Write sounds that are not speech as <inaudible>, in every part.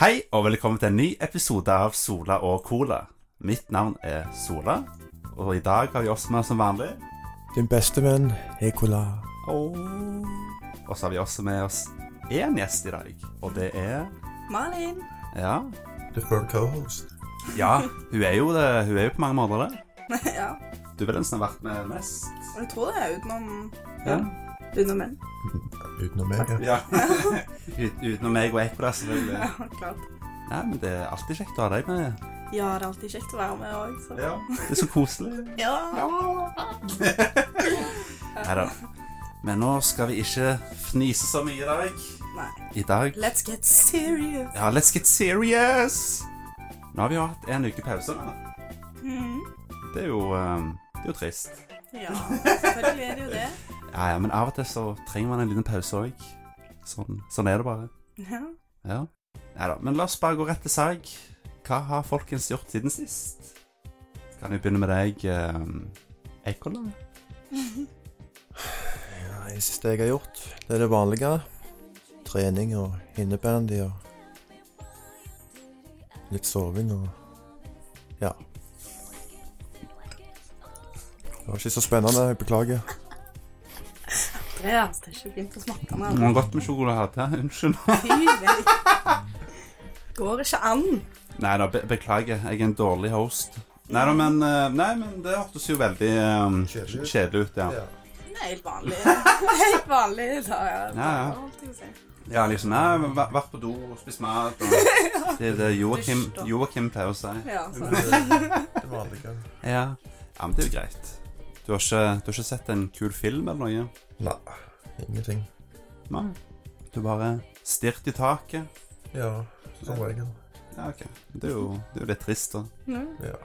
Hei, og velkommen til en ny episode av Sola og Cola. Mitt navn er Sola, og i dag har vi oss med som vanlig. Din beste venn Ekola. Og og så har vi også med oss én gjest i dag, og det er Malin. <laughs> Ja, Deferred co-host. ja hun, er jo det, hun er jo på mange måter det. ja, Du er den som har vært med mest. jeg tror det er utenom Ja. Utenom menn. Utenom meg. ja. ja. <laughs> Ut, utenom meg og Ekola, selvfølgelig. <laughs> Ja, klart. Nei, men det er alltid kjekt å ha deg med. Ja, det er alltid kjekt å være med òg, så Det er så koselig. <laughs> Ja. Nei da. Men nå skal vi ikke fnise så mye i dag. Nei. I dag Let's get serious. Ja, let's get serious! Nå har vi jo hatt en uke pause. men Mhm. Det er jo, ehm, det er jo trist. Ja, selvfølgelig er det jo det. <laughs> Ja, ja, Men av og til så trenger man en liten pause òg. Sånn, sånn er det bare. Ja. Ja. Nei da. Men la oss bare gå rett til sag. Hva har folkens gjort siden sist? Kan vi begynne med deg, um, Eikola? Ja, Det siste jeg har gjort, det er det vanlige. Trening og innebandy og litt soving og ja. Det var ikke så spennende, jeg beklager. Andreas, det er altså ikke begynt å snakke med Det var godt med sjokolade. <laughs> Unnskyld. alle. Går ikke an. Nei da, be beklager. Jeg er en dårlig host. Nei da, men, eh, nei, men det hørtes jo veldig ehm, Kjedelig ut. kjedelig ut. ja. Det er helt vanlig. <laughs> Helt vanlig. Da, ja. Ja, ja. Holdt jeg på å si. Ja, liksom Nei, men væ- vært på do og spist mat. <laughs> Og det er det Joakim, Dusj, da. Joakim pleier å si. Ja, så. Det vanlige. Ja. ja, men det er jo greit. Du har ikke, du har ikke sett en kul film eller noe? Nei, ingenting. Nei. Du bare stirret i taket. Ja, som regel. Ja, ok. Det er jo, det er jo litt trist, da. Mhm. Ja.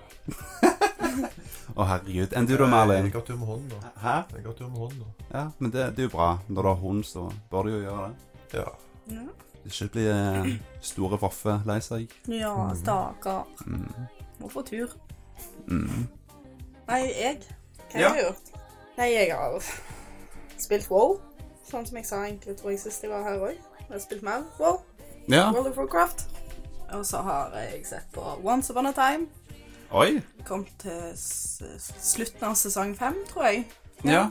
Å, herregud. Enn du da, Malin? går tur med hånden nå. Hæ? Jeg går tur med hånden nå. Ja, men det, det er jo bra. Når du har hund, så bør du jo gjøre det. Ja. Ja. Ikke bli eh, store voffe lei seg. ja, stakkar. Mm. Må få tur. Mm. Nei, jeg? Hva Ja. har jeg gjort? Nei, jeg har spilt WoW. Sånn som jeg sa egentlig, tror jeg sist jeg var her òg. Jeg har spilt mer WoW. Ja. World of Warcraft. Og så har jeg sett på Once Upon a Time. Oi. Kom til s s- slutten av sesong fem, tror jeg. Ja.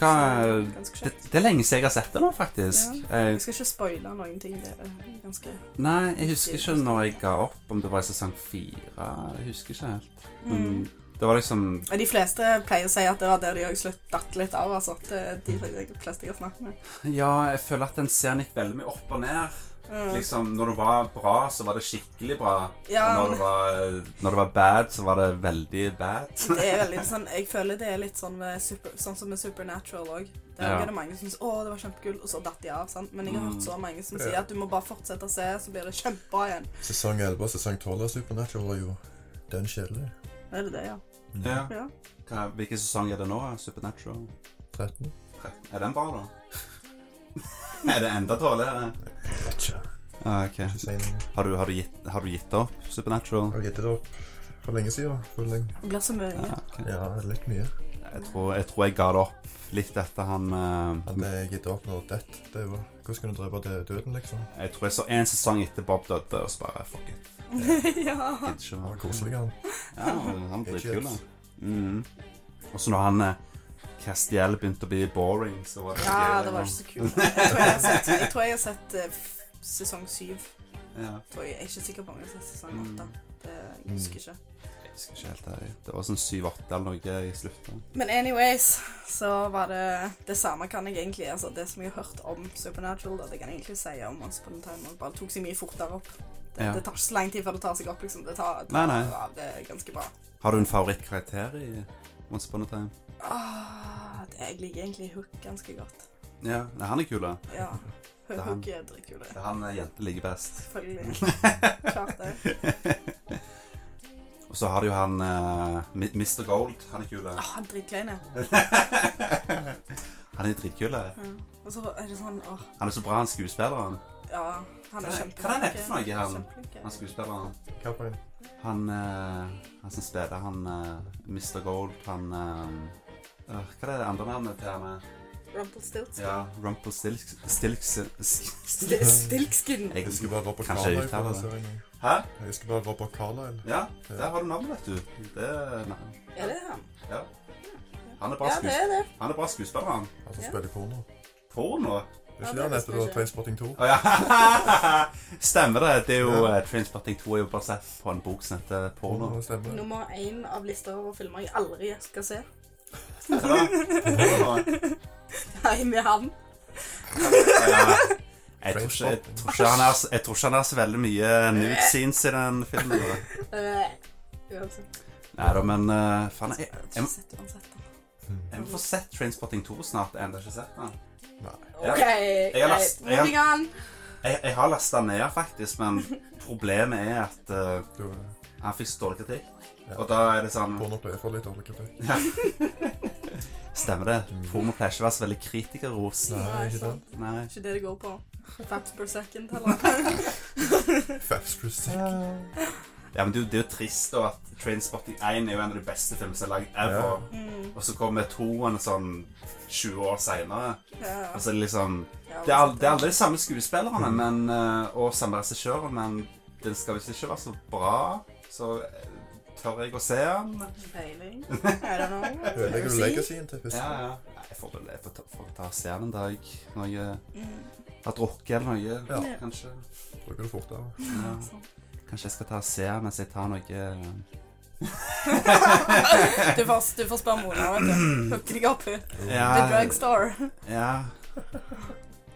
Hva Ganske det, kjekt. det er lenge siden jeg har sett det nå, faktisk. Jeg Jeg skal ikke spoile noen ting. Det er ganske Nei, jeg husker ikke når jeg ga opp, om det var i sesong fire. Jeg husker ikke helt. Men mm. det var liksom Men De fleste pleier å si at det var der de òg slutt datt litt av. altså. Det- De fleste jeg har snakket <laughs> med. Ja, jeg føler at den serien gikk veldig mye opp og ned. Mm. Liksom, Når det var bra, så var det skikkelig bra. Ja. Og når det, var, når det var bad, så var det veldig <laughs> bad. Det er veldig sånn, Jeg føler det er litt sånn, med super, sånn som med Supernatural òg. Der Ja. er det mange som syns 'Å, det var kjempekult', og så datt de av. sant? Men jeg har Mm. hørt så mange som Ja. sier at du må bare fortsette å se, så blir det kjempebra igjen. Sesong 11 og sesong 12 av Supernatural var jo den kjedelige. Er det det, ja? Ja. Ja. Hva, hvilken sesong er det nå? Supernatural? 13? Er den bra, <laughs> da? er det enda dårligere? Vet ikke. Ah, ok. Ikke si noe. Har du, har, du gitt, har du gitt opp Supernatural? Har du gitt det opp for lenge siden? For lenge. Det blir så mye. <laughs> Ja, ok. Ja, litt mye. Jeg tror, jeg tror jeg ga det opp litt etter han eh, At jeg gitt opp når Death døde. Hvordan kan du drepe det døden, liksom? Jeg tror jeg så en sesong etter Bob døde, og så bare fuck it. ja. Gidder ikke Han mer. var koselig, han. Ja, han ble kul, Headshots. da. Mm. Og så når han eh, Castiel begynte å bli boring, så var det ja, gøy, det var da. ikke så kult. Jeg tror jeg har sett, jeg tror jeg har sett eh, f- sesong syv. Ja. Tror jeg. jeg er ikke sikker på om jeg har sett sesong Mm. åtte. Det jeg husker ikke. Jeg husker ikke helt det. Det var sånn 7-8 eller noe i slutten. Men anyways, så var det det samme kan jeg egentlig, altså det som jeg har hørt om Supernatural, da, det kan jeg egentlig si om Once Upon a Time, og det bare tok seg mye fortere opp. Det, Ja. det tar ikke så lang tid før det tar seg opp, liksom. Det tar, det, Nei, nei. Ja, det er ganske bra. Har du en favorittkarakter i Once upon a time? Ah, det, jeg liker egentlig Hook ganske godt. Ja, nei, han er kul, da. Ja, er han. Hook er dritkul, Det er han eh, jente liker best. <laughs> <laughs> selvfølgelig. Klart det. Og så har du jo han eh, Mi- Mr. Gold. Han er kul. da. <laughs> Ah, han er dritklein, ja. Han er dritkul. da. Ja. Og så er det sånn, åh, Han er så bra, han skuespilleren. ja, Ja, han Hva er er- kjempeflink. hva er det for noe, han- Kjempeflink, ja. Han skuespilleren. Hva for en? Han, eh, han som spiller han eh, Mr. Gold, han eh, øh, Hva er det andre navnet til han er? Rumpelstiltskin. Ja, Rumpel Stilks... Stilks... Sti- Stilkskin. Jeg Jeg skal bare Robert Kanskje Carlyle jeg på uttaler den det. serien. Hæ? Jeg skal bare Robert Carlyle. Ja, der har du navnet, vet du. Det er nei. Er det han? Ja. Han er bra Ja, det skuespiller, er det. han. Er bra skuespiller, han. Han som Ja. spiller altså porno. Porno? Det Ja, er ikke det det han visste heter da, jeg ikke. Trainspotting 2? Å ja. <laughs> Stemmer det. Det er jo Ja. eh, Trainspotting 2 er jo basert på en bok som heter Porno. Porno, stemmer det. Nummer én av lista over filmer jeg aldri skal se. <laughs> Hva da? Porno? Nei, med han. Ja. Jeg tror, ikke, jeg, tror ikke han er, så- jeg tror ikke han er så veldig mye nude scenes i den filmen. da. Eh, uansett. Nei da, men eh, faen, jeg, Jeg har jeg, ikke sett uansett. da. Hm. jeg må få sett Trainspotting 2 snart. Jeg har ennå ikke sett den. Nei. Ja. OK, har greit. last- jeg har- Moving on. Jeg, jeg har lasta den ned, faktisk, men problemet er at eh, Du, han fikk så dårlig kritikk. Ja. Og da er det sånn porno pleier for litt dårlig kritikk. Stemmer det. Porno pleier ikke å være så veldig kritikerros. Nei, ikke sant. sant. Nei. Ikke det det går på. Faps per second, <laughs> eller? Fabs Cruise. Ja, men det, er jo- det er jo trist da at Trainspotting 1 er jo en av de beste filmene som er laget ever. Mm, Og så kommer toen sånn 20 år seinere. ja. Altså liksom Ja, Det er, al- det er aldri de samme skuespillerne men, eh, og samme regissøren, men den skal visst ikke være så bra. Så eh, tør jeg å se den? Peiling. I don't know. <laughs> Ødelegger du legacyen til Ja, pissen? ja. Nei, Jeg får vel jeg får ta, får ta og se den en dag når jeg eh, Mm, har drukket eller noe. Ja. Kanskje. Bruker du fortere? Ja. sånn. <laughs> Kanskje jeg skal ta og se den mens jeg tar noe eh, <laughs> du, får, du får spørre Mona, vet du. Hooker deg opp. The Ja. drugstore. <clears throat> Ja.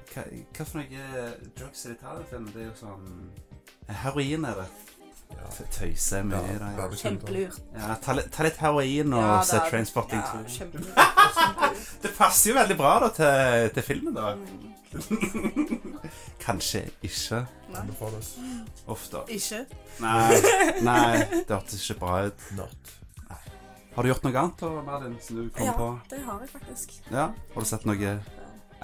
Hva, hva for noe eh, drugs er det i Italia-filmen? Det er jo sånn Heroin er det. Ja. F- Tøyser mye i Ja, det. veldig sunt, da. Kjempelurt. Ja, ta, litt- ta litt heroin og Ja, se det er- Trainspotting Ja, 2. kjempelurt. Det passer jo veldig bra da til, til filmen, <laughs> da. <laughs> Mm. Kanskje ikke Nei. Anbefales. ofte. Ikke. Nei, nei det hørtes ikke bra ut. Not. Har du gjort noe annet, da, Merlin, som du kom Ja, på? det har jeg faktisk. Ja? Har du sett noe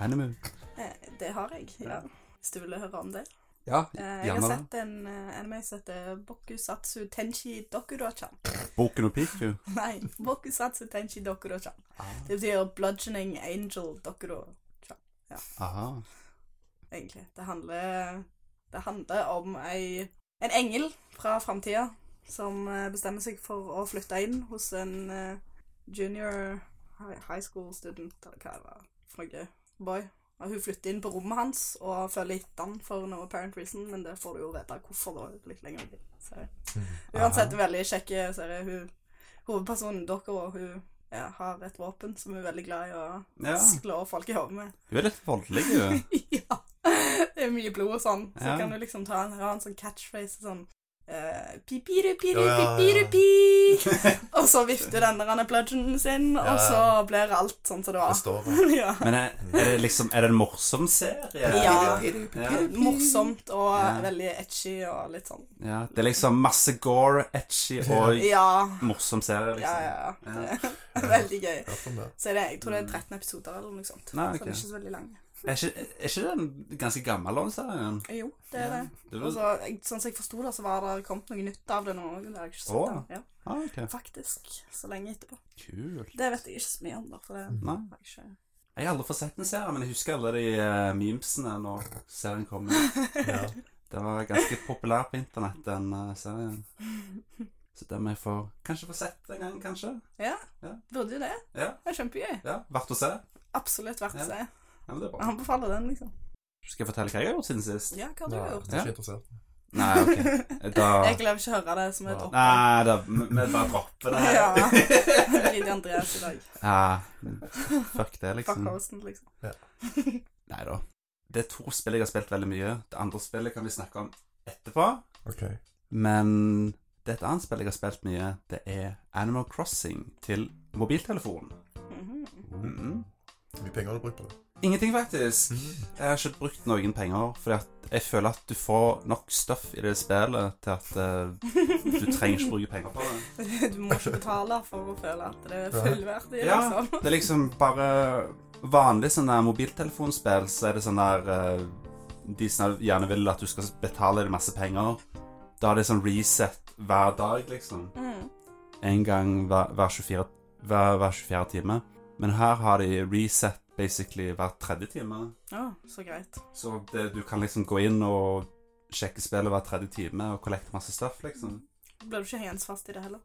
anime? Eh, Det har jeg, ja. Hvis du ville høre om det. Ja, Eh, Jeg har gjerne det. sett en eh, anime som heter Bokusatsu Tenchi Dokuro-chan. <laughs> Boken og Piku. Nei, Bokusatsu Tenchi Dokuro-chan. Ah. Det betyr Bludgeoning Angel Dokuro, Aha. egentlig. Det handler, det handler om ei, en engel fra framtida som eh, bestemmer seg for å flytte inn hos en eh, junior hi- high school student, eller hva det var, for noe boy. Og hun flytter inn på rommet hans og følger etter han for noe apparent reason, men det får du jo vite hvorfor da litt lenger. Så. Hm. Uansett, veldig kjekke serie. Hun, hovedpersonen, dere, og hun ja, har et våpen som hun er veldig glad i å Ja. slå folk i hodet med. Hun er litt voldelig, hun. ja. Det er mye blod og sånn. Så Ja. kan du liksom ta en, ha en sånn catchphrase sånn eh, Pipiru, piru, Ja, ja, ja. pipiru, pi. <laughs> Og så vifter den der han er bludgeonen sin, Ja, ja. og så blir alt sånn som det Det var. står der. <laughs> ja. Men er, er det liksom Er det en morsom serie? Ja. ja. Morsomt og Ja. veldig etchy og litt sånn. Ja, Det er liksom masse gore, etchy og Ja. morsom serie, Ja, liksom. ja, ja. Det er <laughs> veldig gøy. Hørt om det. Så er det, jeg tror det er 13 episoder eller noe sånt. Mm. Nei, Så ok. det er ikke så veldig lang. Er ikke, er ikke den ganske gammel, den serien? Eh, Jo, det er det. Det Og var, så, jeg- sånn som jeg forsto det, så var det kommet noe nytt av det nå. Det har jeg ikke sett Å. ennå. Ja, ah, ok. faktisk. Så lenge etterpå. Kult. Det vet jeg ikke så mye om, da. For det Nei, har jeg ikke Jeg har aldri fått sett en serie, men jeg husker alle de eh, memesene når serien kom. ut. Ja. Det var ganske populær på internett, den eh, serien. Så den må jeg få Kanskje få sett en gang, kanskje? Ja, Ja. burde jo det. Ja. Det er kjempegøy. Ja, Verdt å se? Absolutt verdt å Ja. se. Ja, men det er Jeg bra. anbefaler den, liksom. Skal jeg fortelle hva jeg har gjort siden sist? Ja, hva har du Nei, altså. gjort? jeg er ikke interessert. Nei, <laughs> OK. Da Jeg klarer ikke å høre det som et Ja. opp. <laughs> Nei, da, vi vi bare dropper det. Ja. Drit i Andreas i dag. <laughs> Ja, fuck det, Fuck <laughs> liksom. hosten, liksom. Nei da. Det er to spill jeg har spilt veldig mye. Det andre spillet kan vi snakke om etterpå. Ok. Men det er et annet spill jeg har spilt mye. Det er Animal Crossing til mobiltelefon. Mhm. Mm-hmm. Mhm. Hvor mye penger har du brukt på det? Ingenting, faktisk. Jeg har ikke brukt noen penger, fordi at jeg føler at du får nok stuff i det spillet til at eh, du trenger ikke bruke penger på det. <laughs> Du må ikke betale for å føle at det er Ja. fullverdig, Ja. liksom. Det er liksom bare vanlig sånn der mobiltelefonspill, så er det sånn der eh, de som gjerne vil at du skal betale dem masse penger. Da er det sånn reset hver dag, liksom. Mm. En gang hver, hver, 24, hver, hver 24 time. Men her har de reset basically hver tredje time. Å, så greit. Så det, du kan liksom gå inn og sjekke spillet hver tredje time og kollekte masse stuff, liksom. Ble du ikke hensfast i det heller?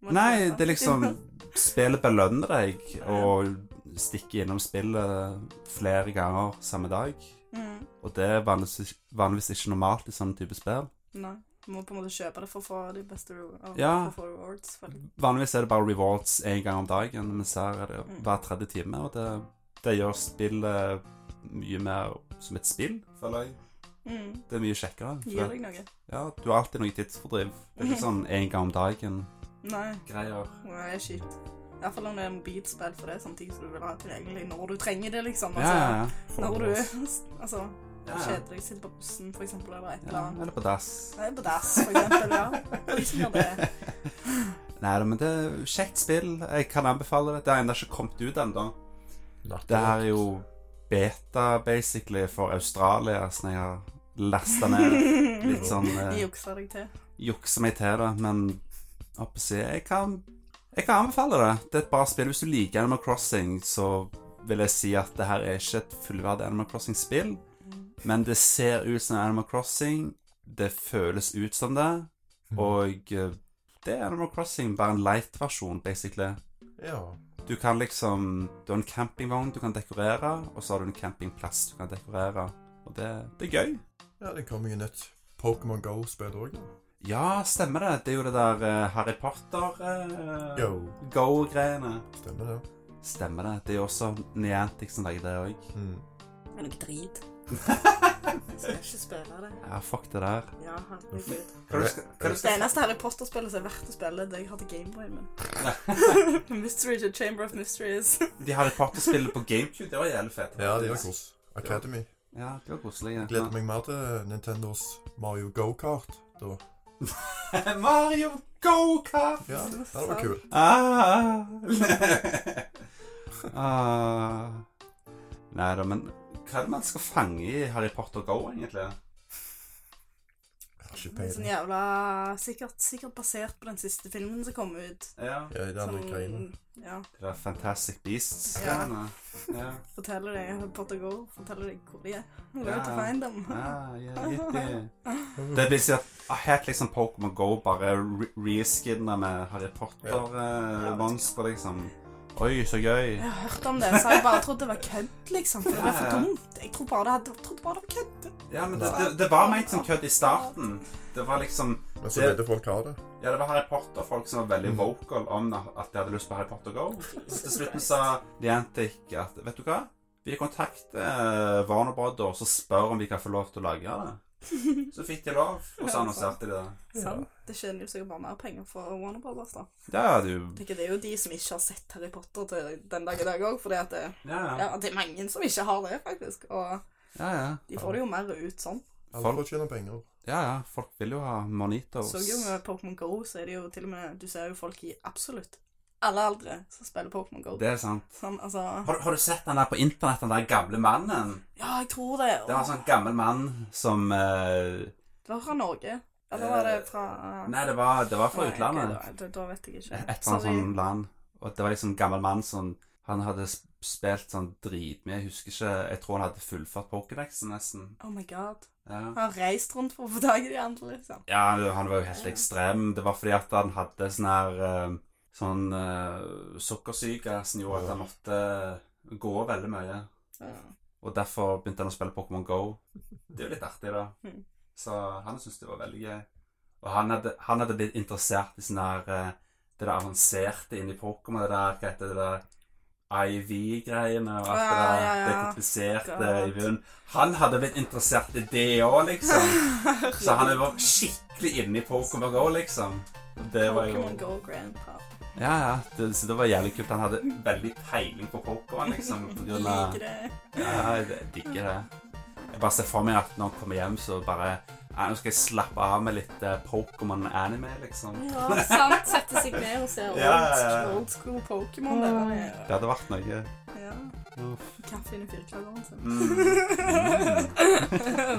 Må du Nei, prøve? det er <laughs> liksom Spillet belønner deg og stikker innom spillet flere ganger samme dag. mm. Og det er vanligvis, vanligvis ikke normalt i sånne type spill. Nei. Du må på en måte kjøpe det for å få de beste ro- og- Ja. for å få rewards. For det. Vanligvis er det bare rewards én gang om dagen, mens her er det Mm. hver tredje time, og det, det gjør spillet mye mer som et spill, føler jeg. Mm. Det er mye kjekkere. for Gir det- deg noe? Ja, du har alltid noe tidsfordriv. Det er ikke Mhm. sånn én gang om dagen-greier. Nei. Nei, det er kjipt. Iallfall om det er mobilspill, for det er sånne ting som du vil ha tilgjengelig når du trenger det, liksom. Ja, ja, Altså, ja. Når du Forholds. <laughs> altså, Ja, ja. kjeder deg, sitter på bussen, for eksempel, eller et eller ja. annet. Eller på dass. Nei, på dass, for eksempel, ja. Og de som gjør <laughs> det. Nei, men det er kjekt spill. Jeg kan anbefale det. Det har ennå ikke kommet ut ennå. Det her er jo beta, basically, for Australia, så jeg har lasta ned litt sånn De eh, jukser deg til. Jukser meg til det, men hva skal jeg si, jeg kan Jeg kan anbefale det. Det er et bra spill. Hvis du liker Animal Crossing, så vil jeg si at det her er ikke et fullverdig Animal Crossing-spill, men det ser ut som Animal Crossing. Det føles ut som det, og eh, det er Animal Crossing, bare en light-versjon, basically. Ja. Du kan liksom Du har en campingvogn du kan dekorere, og så har du en campingplass du kan dekorere. Og det, det er gøy. ja, det kommer jo nytt Pokémon Go-spill òg. Ja, stemmer det. Det er jo det der eh, Harry Potter eh, Yo. Go-greiene. Stemmer det. Stemmer det. Det er jo også Niantic som lager det <laughs> òg. Mm. Det er noe drit. Jeg skal ikke spille det. Ja, fuck det der. Ja, herregud. Hva du skal, hva du Det skal eneste Harry Potter-spillet som er verdt å spille, det er det jeg har til <laughs> Gameboyen min. Mystery to Chamber of Mysteries. De Harry Potter-spillene på GameCube, det var jævlig fett. Ja, det er kos. Academy. Ja, de var koselige. Gleder meg mer til eh, Nintendos Mario Go-kart. Da. <laughs> Mario Go-kart! Ja, det hadde vært kult. Ah. <laughs> ah. Nei da, men hva er det man skal fange i Harry Potter Go, egentlig? Jeg har Ikke Sånn peiling. jævla sikkert, sikkert basert på den siste filmen som kom ut. Ja, Ja, i den Sånn- greiene. Ja. Det er Fantastic Beasts-greiene. Ja. Forteller deg Harry Potter Go. Forteller deg hvor de er. Where Ja. to find them. Ah, yeah, yippee. det blir sikkert ah, helt liksom Pokémon Go, bare re- reskinna med Harry Ja. Potter-monstre, liksom. Oi, så gøy. Jeg har hørt om det, så jeg bare trodde det var kødd, liksom. For det var for dumt. Jeg trodde bare det, hadde, trodde bare det var kødd. Ja, men det, det, det var ment som kødd i starten. Det var liksom Men så Det- ville folk ha det. Ja, det var Harry Potter-folk som var veldig vocal om at de hadde lyst på Harry Potter <laughs> Go. Så til slutten sa Niantic at vet du hva? Vi kontakter eh, Warner Brothers og spør om vi kan få lov til å lage det. <laughs> Så fikk de lov, og så annonserte de det. Sant? Sånn. Det tjener jo sikkert bare mer penger for Warner Brothers, da. Ja, du Tenker, det er jo de som ikke har sett Harry Potter til den dag i dag òg, fordi at det, Ja, ja. ja, det er mange som ikke har det, faktisk. Og ja, ja. de får det jo mer ut sånn. Alle får tjene penger. ja, ja. Folk vil jo ha Monitos. Så jo med Pokémon Go, så er det jo til og med Du ser jo folk i absolutt alle aldre som spiller Pokémon Go. Det er sant. Sånn, altså Har, har du sett den der på internett, den der gamle mannen? Ja, jeg tror det. Og, Det var en sånn gammel mann som eh, Det var fra Norge. Eller var det fra Nei, det var, det var fra Nei, ok, utlandet. Da, da, da vet jeg ikke. et eller annet Sorry. sånn land. Og det var liksom en gammel mann som Han hadde sp- spilt sånn dritmye. Jeg husker ikke Jeg tror han hadde fullført Pokédexen nesten. Oh my god. Ja. Han har reist rundt for å få tak i de andre, liksom. ja, han var jo helt ekstrem. Det var fordi at han hadde sånn her eh, Sånn eh, sukkersyke som gjorde at han måtte eh, gå veldig mye. Ja. Og derfor begynte han å spille Pokémon Go. Det er jo litt artig, da. Mm. Så han syntes det var veldig gøy. Og han hadde, han hadde blitt interessert i sånn her eh, Det der avanserte inni Pokémon, det der Hva heter det der IV-greiene og alt det Ja, der. ja, ja. Det kompliserte God. i bunnen. Han hadde blitt interessert i det òg, <laughs> liksom. Så han var skikkelig inne i Pokémon Go, liksom. Og Det var jo Pokémon Go Grandpa. Ja, ja. Det, så det var jævlig kult. Han hadde veldig peiling på Pokémon, liksom. på grunn av- Liker det. ja, jeg digger det. Jeg bare ser for meg at når han kommer hjem, så bare ja, Nå skal jeg slappe av med litt eh, Pokémon anime, liksom. Ja, sant. Sette seg ned og se Ja, ja, ja. old, old school Pokémon. det var det. Det hadde vært noe. Ja. Ja. Uff. Kaffen i firklageren <laughs> sin. Mm. Mm.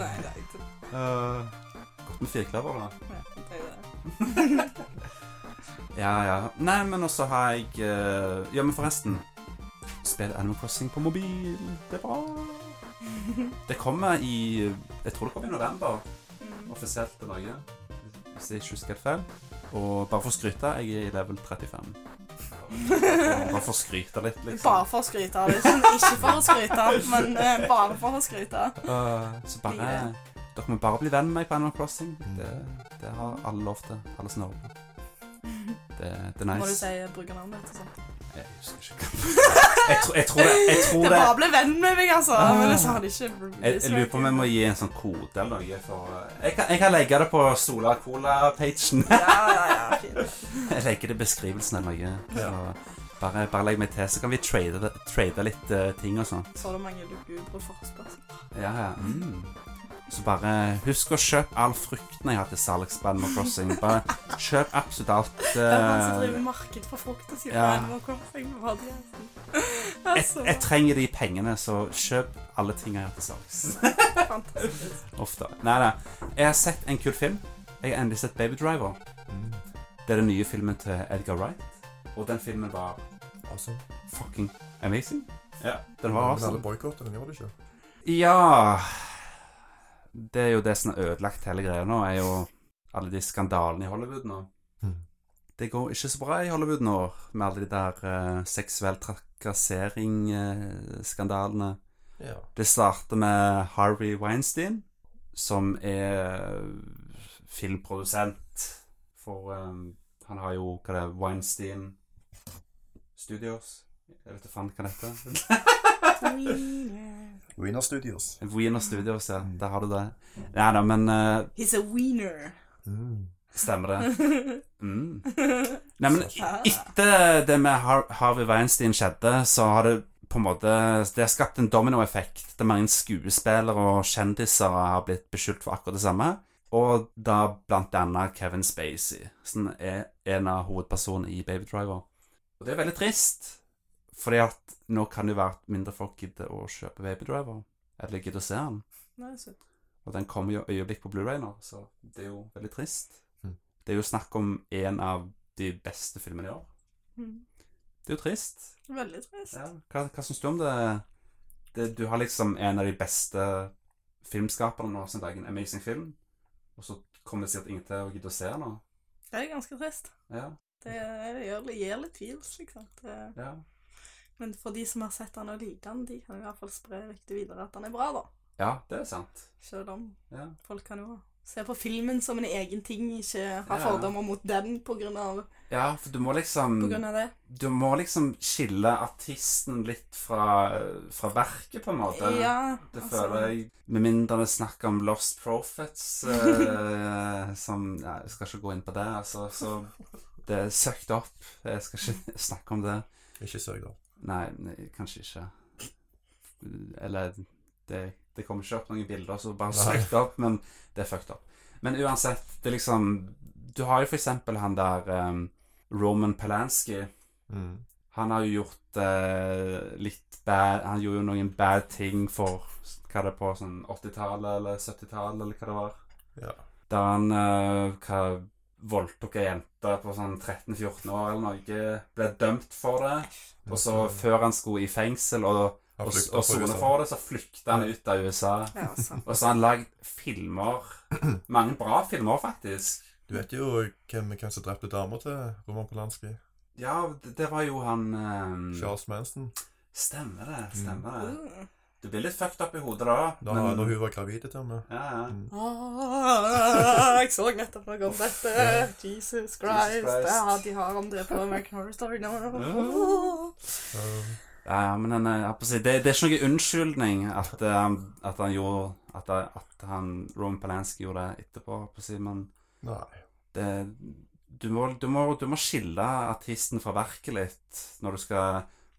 Nei, det er ikke Eh, godt med firkløver, da. det er jo det. Ja, ja. Nei, men også har jeg eh, Ja, men forresten. Spill Animal Crossing på mobil. Det er bra. Det kommer i Jeg tror det kommer i november, Mm. offisielt til Norge. Hvis jeg ikke husker helt feil. Og bare for å skryte, jeg er i level 35. Bare for å skryte litt, Mm. Bare liksom. for å skryte av det. Sånn, ikke for å skryte, men eh, bare for å skryte. Eh, så bare Dere må bare bli venn med meg på Animal Crossing. Det, det har alle lov til. Alle som hører på. Det, det er nice. Må du si brukernavnet ditt og sånt. Jeg husker ikke. Jeg, tror- jeg tror det. <laughs> Jeg tror Det det. bare ble venn med meg, altså. Ah. Men jeg sa det ikke. Jeg, jeg lurer på om jeg må gi en sånn kode eller noe. For jeg, kan, jeg kan legge det på Sola Cola-pagen. Ja, ja, ja, fint. Jeg legger det i beskrivelsen eller noe. Så bare, bare legg meg til, så kan vi trade, det- trade litt eh, ting og sånn. Så det mange lugubre forespørsler. Ja, ja. Mm. Så bare husk å kjøpe all frukten jeg har til salgs på Animal Crossing. Bare kjøp absolutt alt. <laughs> Det er han som driver eh, marked for frukt og sier Ja. Animal Crossing på podcasten. Jeg, Altså, jeg trenger de pengene, så kjøp alle ting jeg har til salgs. <laughs> fantastisk. Ofte. Nei, nei. Jeg har sett en kul film. Jeg har endelig sett Baby Driver. Mm. Det er den nye filmen til Edgar Wright. Og den filmen var Awesome. fucking amazing. Ja, den var Men alle awesome. boikotter den, gjorde du ikke? Ja Det er jo det som har ødelagt hele greia nå, er jo alle de skandalene i Hollywood nå. Mm. Det går ikke så bra i Hollywood nå, med alle de der eh, seksuell trakassering-skandalene. Ja. Det starter med Harvey Weinstein, som er eh, filmprodusent for um, Han har jo hva det er, Weinstein Studios Jeg vet ikke faen hva det heter. Wiener. Wiener Studios. Wiener Studios, ja. Der har du det. Nei da, men eh, He's a wiener. Mm. Stemmer det. Mm. Nei, men etter det med Har Harvey Weinstein skjedde, så har det på en måte Det har skapt en dominoeffekt. Det er mange skuespillere og kjendiser har blitt beskyldt for akkurat det samme. Og da blant annet Kevin Spacey, som er en av hovedpersonene i Baby Driver. Og det er veldig trist, fordi at nå kan det jo være at mindre folk gidder å kjøpe Baby Driver. Eller gidder å se den. <laughs> Nei, søtt. Og den kommer jo øyeblikk på Blu-ray nå, så det er jo veldig trist. Mm. Det er jo snakk om en av de beste filmene i år. Mm. Det er jo trist. Veldig trist. Hva, hva syns du om det? det? Du har liksom en av de beste filmskaperne nå som lager en amazing film, og så kommer det sikkert ingen til å gidde å se den nå. Det er ganske trist. Ja, Det gjør, det gir litt tvils, liksom. Det, ja. men for de som har sett han og liker han, de kan i hvert fall spre ryktet videre at han er bra, da. ja, det er sant. Selv om Ja. folk kan jo se på filmen som en egen ting, ikke ha Ja. fordommer mot den på grunn av, ja, for du må liksom på grunn av det. Du må liksom skille artisten litt fra, fra verket, på en måte. ja, Det altså, føler jeg Med mindre det er snakk om Lost Profits <laughs> eh, Som Nei, jeg skal ikke gå inn på det. Altså, så det er søkt opp. Jeg skal ikke <laughs> snakke om det. Ikke søk, da. Nei, nei kanskje ikke. Eller det, det kommer ikke opp noen bilder, så bare Nei. søkt opp. Men det er fucked opp. Men uansett, det er liksom Du har jo for eksempel han der eh, Roman Polanski. Mm. Han har jo gjort eh, litt bad Han gjorde jo noen bad ting for Hva er det på sånn 80-tallet eller 70-tallet eller hva det var. Ja. Da han eh, hva, voldtok ei jente på sånn 13-14 år eller noe. Ble dømt for det. Og så, før han skulle i fengsel og, Han og, flykter og fra sone USA. for det, så flykta han ut av USA. Ja, <laughs> altså. Og så har han lagd <clears throat> filmer. Mange bra filmer, faktisk. Du vet jo hvem, hvem som drepte dama til Roman Polanski? Ja, det, det var jo han eh, Charles Mm. Manson. Stemmer det. Stemmer det. Uh. Du blir litt fucked up i hodet da. Da men- når hun var gravid til og med. Ja, ja. Mm. Ah, jeg så nettopp noe om dette. Jesus Christ. Christ. Det har de har om det på American Horror Story nå. Um, ja, ja, men han, eh, jeg holdt på å si, det, det er ikke noen unnskyldning at, eh, at han gjorde At, at han, Roman Polanski gjorde det etterpå, jeg holdt på å si, men nei. det, du, må, du, må, du må skille artisten fra verket litt når du skal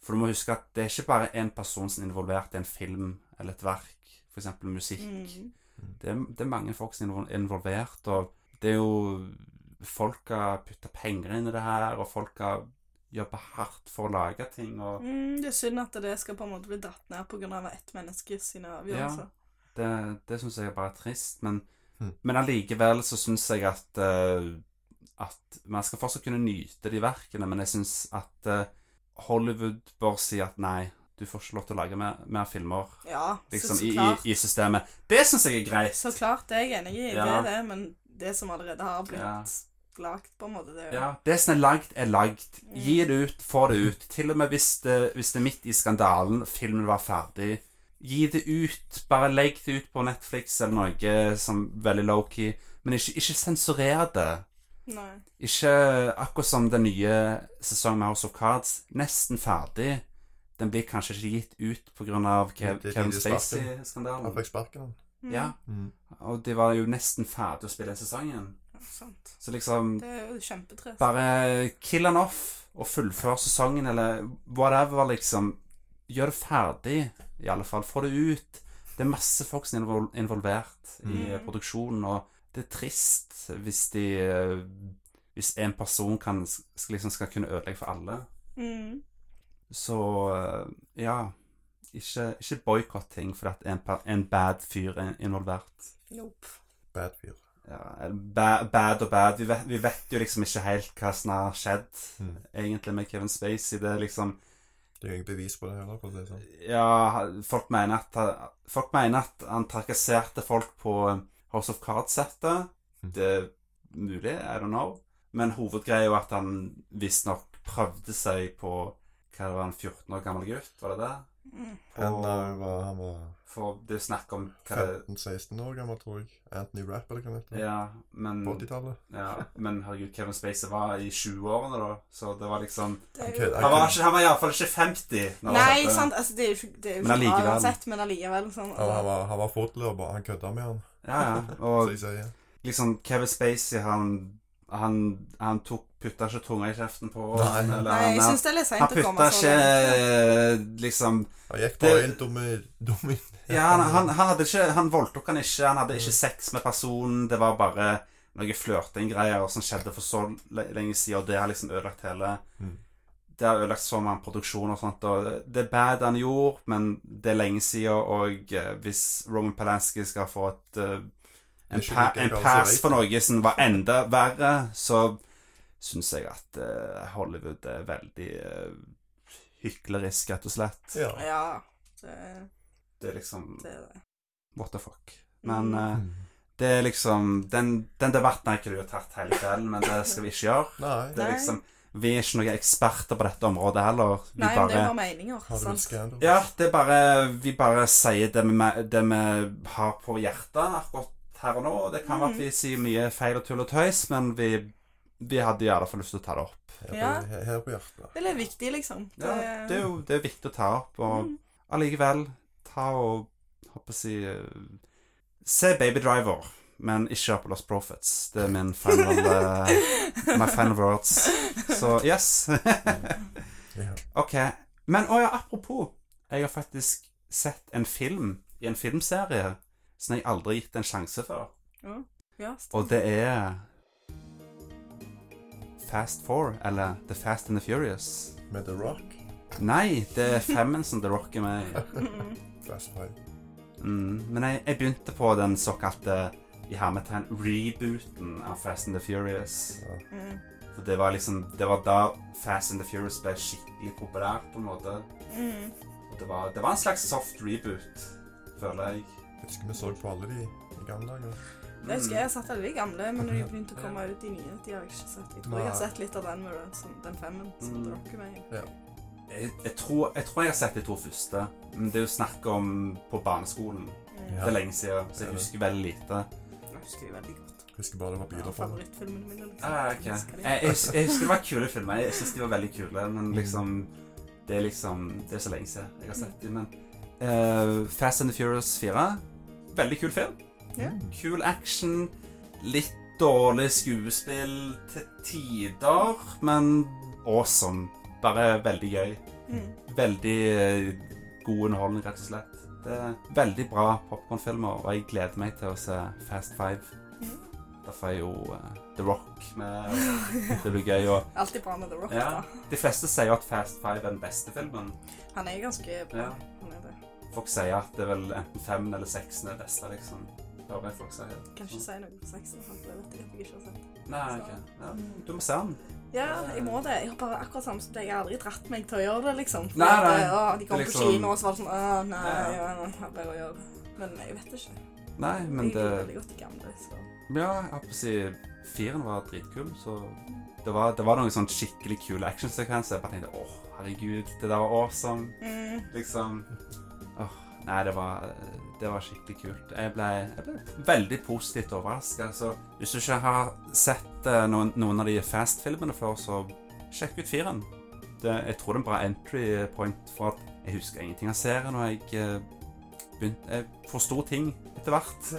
For du må huske at det er ikke bare én person som er involvert i en film eller et verk, f.eks. musikk. Mm. det, er- det er mange folk som er invol- involvert, og det er jo Folk har putta penger inn i det her, og folk har jobber hardt for å lage ting, og Mm, det er synd at det skal på en måte bli dratt ned pga. ett menneske sine avgjørelser. det, det syns jeg bare er trist. Men, Mm. men allikevel så syns jeg at eh, at man skal fortsatt kunne nyte de verkene, men jeg syns at eh, Hollywood bør si at nei, du får ikke lov til å lage mer, mer filmer Ja, så- liksom, så, i, klart. i, i systemet. Det syns jeg er greit. Så klart, det er jeg enig i. Det Ja. er det, men det som allerede har blitt Ja. lagt, på en måte, det er jo Ja, det som er lagd, er lagd. Mm. Gi det ut, få det ut. Til og med hvis det, hvis det er midt i skandalen, filmen var ferdig. Gi det ut. Bare legg det ut på Netflix eller noe som veldig low-key. Men ikke, ikke sensurer det. Nei. Ikke akkurat som den nye sesongen med House of Cards. Nesten ferdig. Den blir kanskje ikke gitt ut pga. Kev, Det er Kevin tidlig sparken. Han Spacey-skandalen. fikk sparken. Mm. Ja, Mm. og de var jo nesten ferdig å spille den sesongen. Ja, sant. Så liksom Det er jo kjempetrist. Bare kill han off og fullfør sesongen, eller whatever, liksom. Gjør det ferdig, i alle fall. Få det ut. Det er masse folk som er invol- involvert i Mm. produksjonen, og det er trist hvis de eh, Hvis en person kan, skal, liksom, skal kunne ødelegge for alle. Mm. Så eh, ja Ikke, ikke boikott ting fordi at en, pa- en bad fyr er involvert. Nope. Bad fyr. Ja, eller ba- bad og bad. Vi vet, vi vet jo liksom ikke helt hva som har skjedd Mm. egentlig med Kevin Spacey. Det er liksom Det er jo ingen bevis på det heller. for å si det sånn. Ja, folk mener at, han- folk mener at han trakasserte folk på eh, House of Cards-settet. Mm. Det er mulig, I don't know. Men hovedgreia er jo at han visstnok prøvde seg på hva det var en 14 år gammel gutt, var det det? Mm. Han Og- eh, var, han var For det er jo snakk om hva det 15-16 år gammel, tror jeg. Anthony Rapp, eller hva han heter. Ja, men, På 80-tallet. ja, men herregud, Kevin Spacey var i 20-årene da, så det var liksom Det er Ok, jo... da- Han var, ikke- han var iallfall ikke 50. når han Nei, satte- sant, altså, det er jo ikke, det er jo Men ikke bra allikevel. uansett, men allikevel Han, sånn. han Altså. var, han var fotløper. Han kødda med han, Ja, ja. som Og jeg sier. liksom Kevin Spacey, han Han, han tok putta ikke tunga i kjeften på oss. Nei. eller Nei, jeg han, syns det er litt han seint å putta komme så eh, ikke langt. eh, liksom Han gikk bare Det- inn domi- domi- Ja, han, han, han hadde ikke Han voldtok han ikke, han hadde ikke sex med personen, det var bare noe flørtinggreier som skjedde for så le- lenge siden, og det har liksom ødelagt hele Mm. Det har ødelagt så mange produksjoner og sånt, og det er bad han gjorde, men det er lenge siden, og eh, hvis Roman Polanski skal få et eh, en, Det er ikke pa like en galt som pass jeg. for noe som var enda verre, så syns jeg at eh, Hollywood er veldig eh, hyklerisk, rett og slett. Ja. Ja, det, Det er liksom det er det. What the fuck. Men Mm. eh, Det er liksom Den, den debatten har ikke du tatt hele kvelden, men det skal vi ikke gjøre. Nei. Det er Nei. liksom, vi er ikke noen eksperter på dette området heller. Vi Nei, men det bare var meninger. Har du en Sant? scandal? Ja, det er bare Vi bare sier det vi, me- det vi har på hjertet akkurat her og nå. Det kan Mhm. være at vi sier mye feil og tull og tøys, men vi, vi hadde i alle fall lyst til å ta det opp. Her, Ja. på, her, her på hjertet. Det er litt viktig, liksom. Ja, det er jo det er viktig å ta opp, og Mm. allikevel ta og Håper å si eh, Se Baby Driver, men ikke hør på Lost Profits. Det er min final eh, <laughs> My final words. Så yes. <laughs> Ja. ok. Men å ja, apropos. Jeg har faktisk sett en film i en filmserie som jeg aldri har gitt en sjanse for. Ja, Og det er Fast Four, eller The Fast and the Furious. Med The Rock. Nei, det er femmen som The Rock er med i. Mm. Fast Five. Mm, men jeg, jeg begynte på den såkalte i hermetegn rebooten av Fast and the Furious. Ja. Mm. For det var liksom Det var da Fast and the Furious ble skikkelig populært, på en måte. Mm. Det var, det var en slags soft reboot, føler jeg. Jeg husker vi så på alle de i gamle dager. Jeg husker jeg satt alle de gamle, men når de begynte Mm. å komme ut i nye, de har jeg ikke sett. Jeg tror jeg har sett litt av den med den, som- den femmen som Mm. The Rock er med i. Jeg, jeg, tror, jeg tror jeg har sett de to første. Men det er jo snakk om på barneskolen. Mm. Det er lenge siden, så jeg husker veldig lite. Jeg husker de veldig godt. Jeg husker bare det var Det biler var på den. favorittfilmene mine. liksom. Ah, ok. jeg, Jeg elsker de. jeg, hus- jeg husker det var kule filmer. Jeg syns de var veldig kule, men liksom Det er liksom Det er så lenge siden jeg har sett dem. Men eh, Fast and the Furious 4 Veldig kul film. Ja. Mm. Kul action, litt dårlig skuespill til tider, men awesome. Bare veldig gøy. Mm. Veldig eh, god underholdning, rett og slett. Det er veldig bra popkornfilmer, og jeg gleder meg til å se Fast Five. Mm. Derfor er jo eh, The Rock med. Det blir gøy. Og <laughs> Alltid bra med The Rock. Ja. da. de fleste sier jo at Fast Five er den beste filmen. Han er ganske bra. Ja. Han er det. Folk sier at det er vel enten fem eller seks er det beste, liksom. Hører jeg folk sier. Kan ikke si noe om sexen, for det vet jeg at jeg ikke har sett. Nei, ok. Ja, du må se den. Ja, jeg må det. Jeg har bare akkurat samme som deg. Jeg har aldri dratt meg til å gjøre det, liksom. Fordi Nei, nei. at, å, de kom Det er på liksom- kino, og så var det sånn Å, nei, Ja. ja, nei, jeg har bare å gjøre det. Men jeg vet ikke. Nei, men jeg det liker veldig godt de gamle, så Ja, jeg holdt på å si Firen var dritkul, så det var, det var noen sånn skikkelig kule actionsekvenser. Jeg bare tenkte åh, herregud, det der var awesome. mm. <laughs> Liksom Åh, Nei, det var, eh, det var skikkelig kult. Jeg ble, jeg ble veldig positivt overraska. Så hvis du ikke har sett eh, noen, noen av de Fast-filmene før, så sjekk ut firen. Det, jeg tror det er en bra entry point, for at jeg husker ingenting av serien, og jeg eh, begynte Jeg forsto ting etter hvert.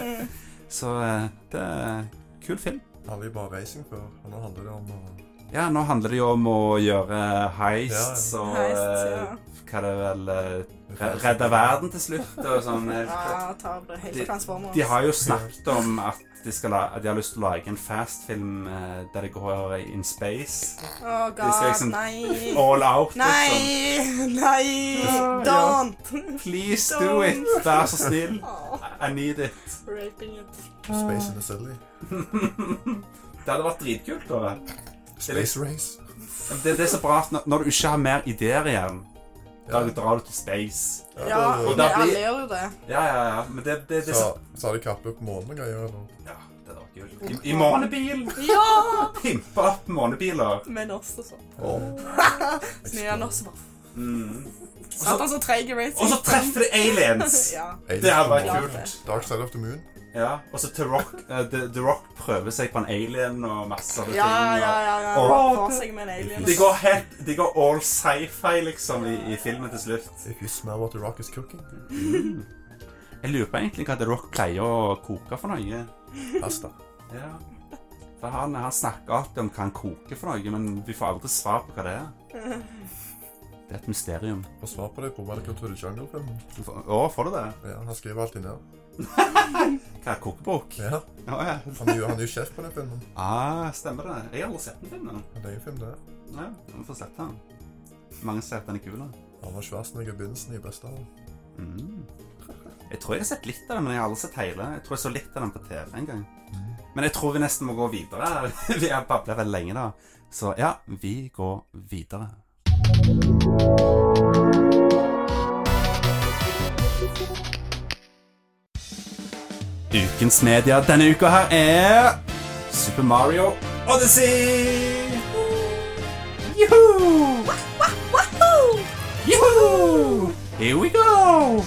<laughs> så eh, det er en kul film. Aldri bare racing før. Og nå handler det om å Ja, nå handler det jo om å gjøre heists Ja, og Heists, ja. eh, hva det vel eh, Re- Redde verden til slutt og sånn. ja, ta det helt De- transformer. De har jo snakket om at de, skal la, at de har lyst til å lage en fastfilm eh, der det går in space. Å, god, skal liksom- nei. All out, liksom. Nei! <laughs> Nei! Ja, ja. Don't! <laughs> Please do it! Vær så snill. Åh, I need it. raping it. Ah. Space in the Silly. Det hadde vært dritkult. da. liksom- Space Race. Det, det er så bra at når- når du ikke har mer ideer igjen, da drar du til space. Ja, og men da blir- alle gjør jo det. Ja, ja, ja. Men det, det, det er Ah. Så, så så har de kappet opp månen og greier. eller? Ja, det var kult. I, i månebil! Ja! Pimpe opp månebiler. <laughs> Men også sånn. Snur han Explode. også bare Mm. Satan, så treig i racing. Og så treffer de aliens! <laughs> Ja. Det her var Aliens. kult. Dark Side of the Moon. Ja, og så The Rock, eh, The, The Rock prøver seg på en alien og masse Ja, sånne ting. ja, og- ja. ja. Og- Får seg med en alien. altså. De går helt, de går all sci-fi liksom i, i filmen til slutt. If you smell what the rock is cooking. Mm. Jeg lurer på egentlig hva The Rock pleier å koke for noe. Pasta. Ja. For han, han snakker alltid om hva han koker for noe, men vi får aldri svar på hva det er. Det er et mysterium. Og svar på det på Welcome to the Jungle-filmen. Du får- Å, får du det? Ja, han skriver alltid ned. Hva er kokebok? Ja, Å ja. han er jo, han er jo sjef på den filmen. Ah, stemmer det. Jeg har aldri sett den filmen. Han er jo film, det. Ja, vi får sett den. Mange sier at den er kul. da. Arnold Schwarzenegger i begynnelsen i beste av Mm. Jeg tror jeg har sett litt av den, men jeg har aldri sett hele. Jeg tror jeg så litt av den på TV en gang. Men jeg tror vi nesten må gå videre. <laughs> Vi har babla veldig lenge, da. Så ja, vi går videre. Ukens media denne uka her er Super Mario Odyssey! Juhu! Juhu! Here we go!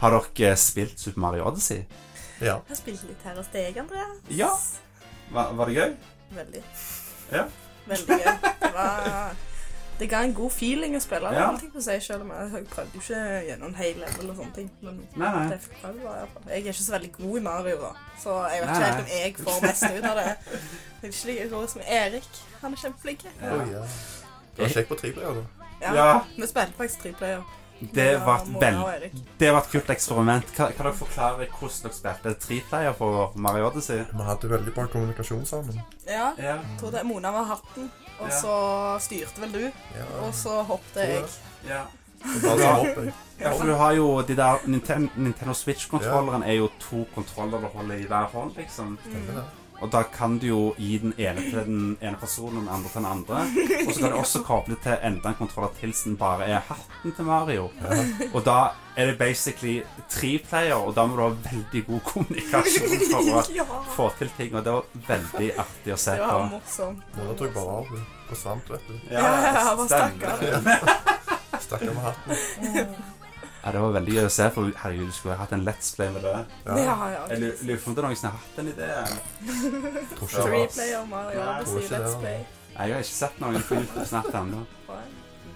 Har dere spilt Super Mario Odyssey? Ja. Jeg spilte litt her hos deg, Andreas. Ja. Var, var det gøy? Veldig. Ja. Veldig gøy. Det var Det ga en god feeling å spille. Ja. Ja. Ting på seg selv, men jeg prøvde jo ikke gjennom hele level og sånne ting. Men Nei, nei. det fikk prøve var i hvert fall. Jeg er ikke så veldig god i Mario, da. Så jeg vet Nei, ikke helt nei. om jeg får mest ut av det. Jeg er ikke like god som Erik. Han er kjempeflink. Oh, ja. Det var kjekt på triplayer, da. Ja. Ja. Vi spilte faktisk triplayer. Det var et Mona vel- og Erik. det var et kult eksperiment. Kan, kan dere forklare hvordan dere spilte treplayer for Mario Odyssey? Vi hadde veldig bra kommunikasjon sammen. Ja. Ja. Jeg tror det Mona var hatten, og Ja. så styrte vel du, Ja, og så hoppet jeg. ja. det var sånn opp, jeg. Mm. Ja, for du har jo de der Nintendo, Nintendo Switch-kontrolleren er jo to kontroller du holder i hver hånd, liksom. Stemmer det. Og da kan du jo gi den ene til den ene personen og den andre til den andre. Og så kan du også koble til enda en kontroller til som bare er hatten til Mario. Og da er det basically tre player, og da må du ha veldig god kommunikasjon for å <laughs> ja. få til ting. Og det var veldig artig å se Det på. var morsomt. Mona tok bare av. hun. Forsvant, vet <laughs> du. Ja, jeg var stakkar. Stakkar med hatten. Ja, det var veldig gøy å se på. Herregud, du skulle ha hatt en Let's Play med det. Ja, Ja, ja. Jeg lu- lurer på om det er noen som har hatt den ideen. tror ikke det var Replay om Mario Nei, tror Odyssey, ikke det, Let's da. Play. Jeg har ikke sett noen på YouTube snart ennå. Nei,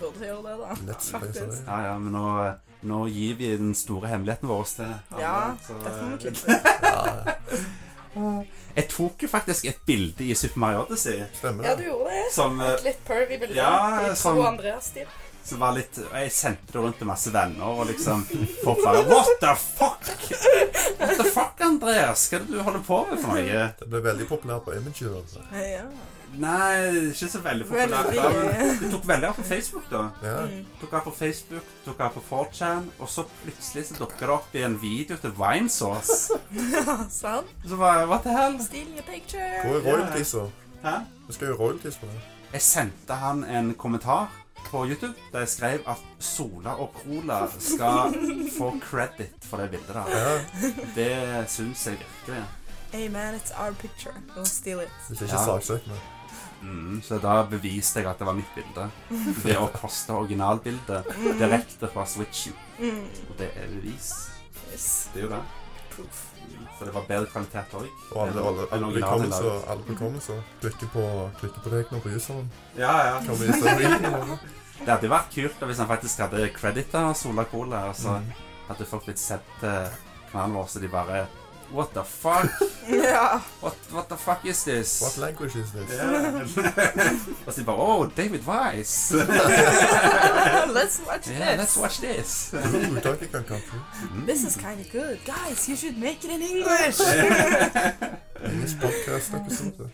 Du burde gjøre det, da. Let's play, sa Faktisk. de. Ja, ja, men nå, nå gir vi den store hemmeligheten vår til alle, Ja, så- eh, Derfor må vi klippe. Ja, Jeg tok jo faktisk et bilde i Super Mario Odyssey stemmer Ja, du det. gjorde det. som eh, Litt pervy bilder. Ja, Litt sånn- Tro Andreas-stil. Så det var litt, og jeg sendte det rundt til masse venner og liksom folk bare What the fuck? What the fuck, Andreas? Hva er det du holder på med for noe? Det ble veldig populært på Imager. Altså. Ja. Nei, ikke så veldig populært. da. Veldig Sånn Det tok veldig av på Facebook, da. Ja. Mm. Tok av på Facebook, tok av på 4chan, og så plutselig så dukka det opp i en video til Vinesauce. Sant? Så bare What the hell? Stealing a sånn. picture. Hvor er royaltiesa? Hæ? Vi skal jo ha royalties på det. Jeg sendte han en kommentar på YouTube der jeg skrev at Sola og Cola skal få credit for det bildet der. Ja. Det syns jeg virkelig. Hey man, it's our picture. Don't steal it. Hvis ikke Ja. saksøk meg. Mm, så da beviste jeg at det var mitt bilde. Ved å poste originalbildet direkte fra Switchen. Mm. Og det er bevis. Yes. <laughs> Det er jo det. Proof. For det var bedre kvalitet òg. Og alle, alle, alle bekommelser. Alle bekommelser. Klikke på, klikke på deg nå på useren. Ja, ja. <laughs> Kommer i serien. Det hadde jo vært kult da hvis han faktisk hadde credita Sola Cola. altså. Og så Mm. hadde folk blitt sett eh, knallen vår, så de bare What the fuck? Ja. What, what the fuck is this? <laughs> What language is this? Yeah. og så de bare Oh, David <laughs> Wise. <laughs> Let's watch yeah, this. let's watch this. Ooh, Donkey Kong <laughs> Country. This is kind of good. Guys, you should make it in English. Engelsk podcast episode. Oh,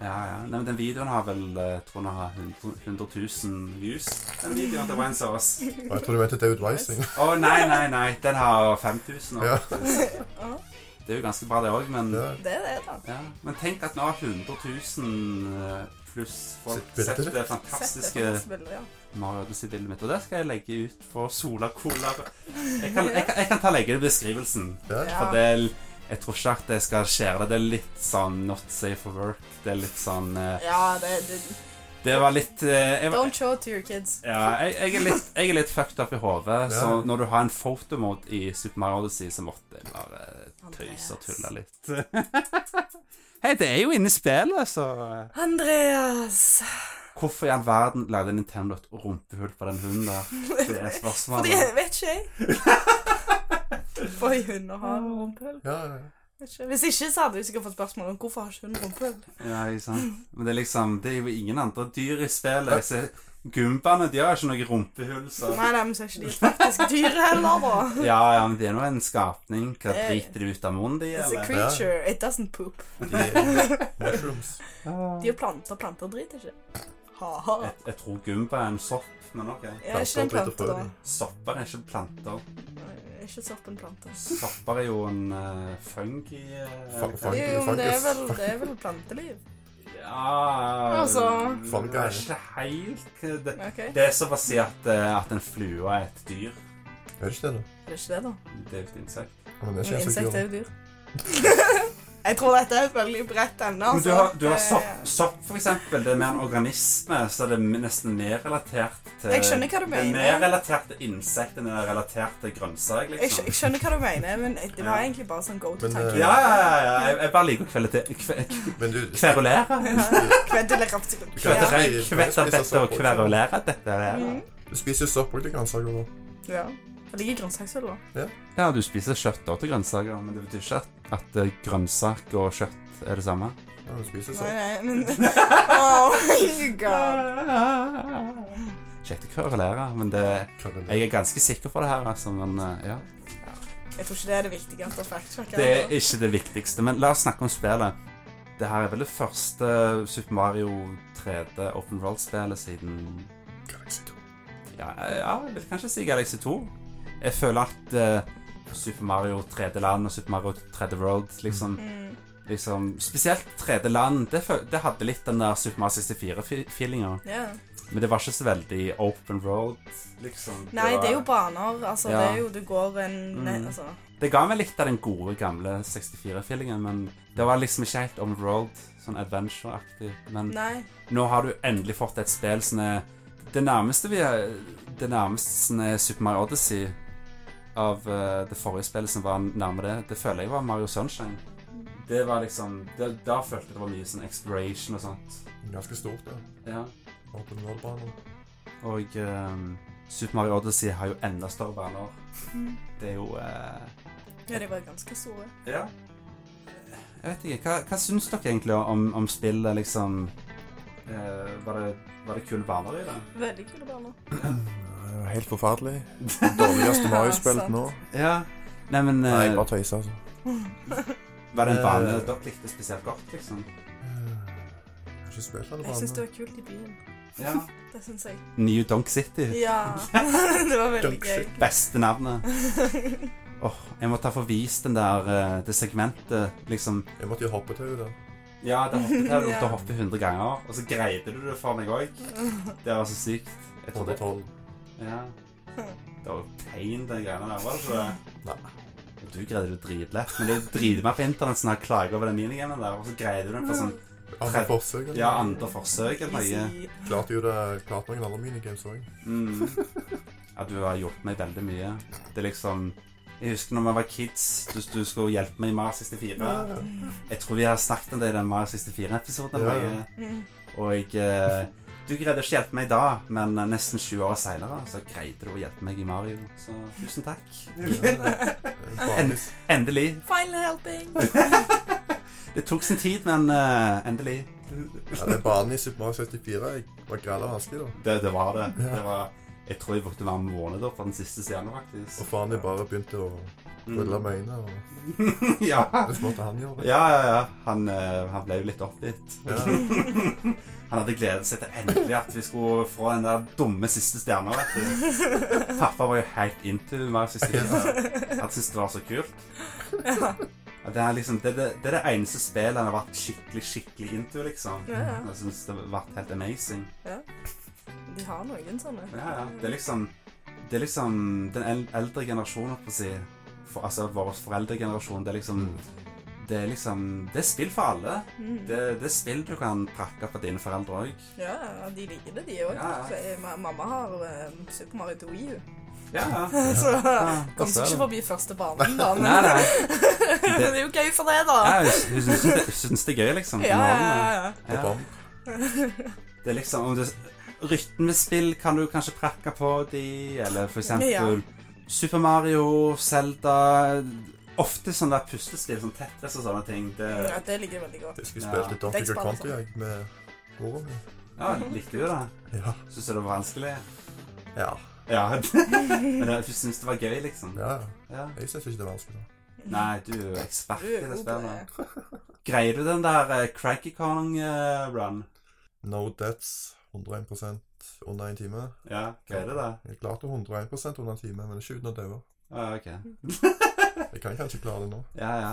Ja, ja. Nei, men den videoen har vel eh, tror den har 100 100 000 views. Den videoen til Wines of Us. Og jeg tror du mente David Weissing. Å nei, nei, nei. Den har 5000 Ja. år. <laughs> Det er jo ganske bra, det òg, men Ja. <laughs> det er det, da. ja. Men tenk at nå har 100 000 eh, pluss folk Sett bildet sett ditt. det Sett fantastiske det på spillet, ja. Mario Odyssey-bildet mitt. Og det skal jeg legge ut for Sola Cola. Jeg kan, jeg, kan- jeg kan ta legge det i beskrivelsen. Ja. For det er, jeg tror ikke at jeg skal skjære det. Det er litt sånn not safe for work. Det er litt sånn eh, Ja, det, det Det var litt eh, jeg, Don't show it to your kids. Ja, jeg, jeg, er litt, jeg er litt fucked up i hodet, Ja. så når du har en photomode i Super Mario Odyssey, så måtte jeg bare tøyse og tulle litt. <laughs> Hei, det er jo inne i spillet, så Andreas! Hvorfor i all verden lagde Nintendo et rumpehull på den hunden der? Det er spørsmålet. Fordi jeg vet ikke, jeg. Får hunder ha rumpehull? Ja, ja. Vet ikke. Hvis ikke, så hadde vi sikkert fått spørsmål om hvorfor har ikke hun rumpehull. <laughs> Ja, ikke sant? Men det er liksom Det er jo ingen andre dyr i spillet. Så Gumbaene de har ikke noe rumpehull, så Nei, nei, men så er ikke de faktisk dyr heller, <laughs> da. Ja, ja, men det er nå en skapning. Hva driter de ut av munnen, de, It's a eller? creature. It doesn't poop. De- <laughs> Mushrooms. De er planter. Planter driter ikke. Ha-ha. Jeg, jeg tror gumba er en sopp, men OK. Er ikke en Planter driter plante, da? frø. Sopper er ikke planter. Er ikke sopp en plante? Sopper er jo en eh, fungi eh, Fang- fang- Jo, men det er vel, Fungus. det er vel planteliv. Ja Altså- Fungi. det er Ikke helt eh, det, Ok. det er som å si at, eh, at en flue er et dyr. Er det ikke det, da? Er det ikke det, da? Det er jo et insekt. Ja, Men det er Men ikke så insekter er dyr. jo dyr. <laughs> Jeg tror dette er et veldig bredt emne. Men du altså. har, du har Det- sopp, sopp, eh, for eksempel. Det er mer en organisme, så det er nesten mer relatert til Jeg skjønner hva du Det er mener. mer relatert til insekt enn det er relatert til grønnsak, Jeg, skj- liksom. jeg skjønner hva du mener, men det var Ja. egentlig bare sånn go Men, to-tanke. eh, <laughs> Ja, ja, ja. ja. Jeg, jeg bare liker å kvalite- kve- Men du kverulere. Du kan Ja. ikke- Kverulere, kvetter dette og kverulere dette. her. Mhm. Du spiser jo sopp og litt grønnsaker nå. Mm. ja. Jeg liker grønnsaksøl, da. Ja, du spiser kjøtt og til grønnsaker, men det betyr ikke at, at eh, grønnsak og kjøtt er det <laughs> samme. Ja, du spiser Nei, sopp. nei, men <laughs> Oh my god. <laughs> Kjekt å kverulere, men det, jeg er ganske sikker på det her, altså, men eh, ja. Jeg tror ikke det er det viktigste å altså. fact-sjekke. Det er ikke det viktigste, men la oss snakke om spillet. Det her er vel det første Super Mario 3D Open World-spillet siden ja, ja, jeg vil kanskje si Galaxy 2. Jeg føler at eh, Super Mario 3D Land og Super Mario 3D World liksom Mm. liksom, Spesielt 3D Land. Det, fø- det hadde litt den der Super Mario 64-feelinga. Ja. Men det var ikke så veldig open road, liksom. Nei, det er jo var- baner. Altså, Ja. det er jo Du går en Mm. altså. Det ga meg litt av den gode, gamle 64-feelingen, men det var liksom ikke helt on road, sånn adventure-aktig. Men Nei. nå har du endelig fått et spill som er Det nærmeste vi er Det nærmeste som er Super Mario Odyssey av eh, det forrige spillet som var nærme det, det føler jeg var Mario Sunshine. Det var liksom det, Da følte jeg det var mye sånn exploration og sånt. Ganske stort, da. Ja. Open world-banen. Og ehm, Super Mario Odyssey har jo enda større baner. Mm. Det er jo eh, Ja, de var ganske store. Ja. Jeg vet ikke. Hva, hva syns dere egentlig om, om spillet, liksom? Eh, var, det, var det kule baner i <laughs> det? Veldig kule <clears throat> baner. Det var helt forferdelig. Dårligste Mario spilt nå. Ja. Nei, men eh, Nei, jeg bare tøyser, altså. var det en bane Eh. dere likte spesielt godt, liksom? Jeg har ikke spilt alle <laughs> Jeg syns banene. det var kult i byen. Ja. Det syns jeg. New Donk City. Ja. <laughs> Det var veldig Dunk gøy. <laughs> City. Beste navnet. Åh, jeg måtte ha forvist den der, eh, det segmentet, liksom. Jeg måtte jo hoppe til henne. Ja, det hoppet her, du Ja. måtte hoppe 100 ganger, og så greide du det for meg også. Det var så sykt. Jeg trodde, ja. Det var jo pain, den greiene der, var det ikke det? Nei. Du greide det dritlett, men det driter meg på internett som har klaget over den minigamen der, og så greide du den på sånn, Andre forsøk. ja, andre forsøk eller noe. Easy. Klarte jo det klarte noen andre minigames òg. Mm. Ja, du har hjulpet meg veldig mye. Det er liksom Jeg husker når vi var kids, du, du skulle hjelpe meg i Mar 64. Jeg tror vi har snakket om det i den Mar 64-episoden. Ja. Mm. Og eh, du greide ikke å hjelpe meg da, men eh, nesten 20 år senere så greide du å hjelpe meg i Mario. Så tusen takk. Endelig. <laughs> Final helping. Det tok sin tid, men eh, endelig. Ja, den banen E i Super Mario 74 jeg var grella vanskelig, da. Det, det var det. Ja. det var, jeg tror jeg brukte hver måned da, på den siste scenen, Og faktisk. faren min bare begynte å rulle med øynene, og <laughs> ja. så måtte han gjøre det. Ja, ja, ja. Han, eh, han ble jo litt oppgitt. Ja. <laughs> Han hadde gledet seg til endelig at vi skulle få den der dumme siste stjerna, vet du. Pappa var jo helt into Mario siste stjerne. Han syntes det var så kult. Ja, Det er, liksom, det, det, det er det eneste spillet han har vært skikkelig, skikkelig into, liksom. Ja, ja. Jeg syns det har vært helt amazing. De har noen sånne. Ja, ja. Det er liksom Det er liksom den el- eldre generasjonen, holdt på å si. For, altså vår foreldregenerasjon. Det er liksom Det er liksom Det er spill for alle. Mm. Det, det er spill du kan prakke på dine foreldre òg. Ja, ja, de liker det, de òg. Ja, ja. Mamma har eh, Super Mario til Wii U. Ja, <laughs> ja. Så Ja, da kom ser seg ikke du. forbi første <laughs> barnen, da. Men <laughs> Nei, nei. det er jo gøy for det, da. Ja, hun hun syns det, hun syns det er gøy, liksom. Ja, ja, Underholdende. ja. Og Ja. bom. Det er liksom om det, Rytmespill kan du kanskje prakke på de, eller for eksempel Super Mario, Zelda Ofte sånne der puslespill, sånn Tetris og sånne ting. Det, ja. ja det liker jeg veldig godt. Jeg skulle spilt litt Donkey Kong Country jeg, med mora mi. ja, likte du det? Ja. Syns du det var vanskelig? Ja. Ja. <laughs> Men det- du syns det var gøy, liksom? ja. Ja. Jeg syns ikke det er vanskelig. da. Nei, du er jo ekspert Du i er det god på det. spillet. Greier du den der eh, Cranky eh, Kong-run? No deaths. 101 under en time. ja, greier du det? Jeg klarte 101 under en time, men ikke uten å daue. Ja, OK. <laughs> Jeg kan kanskje klare det nå. Ja, ja.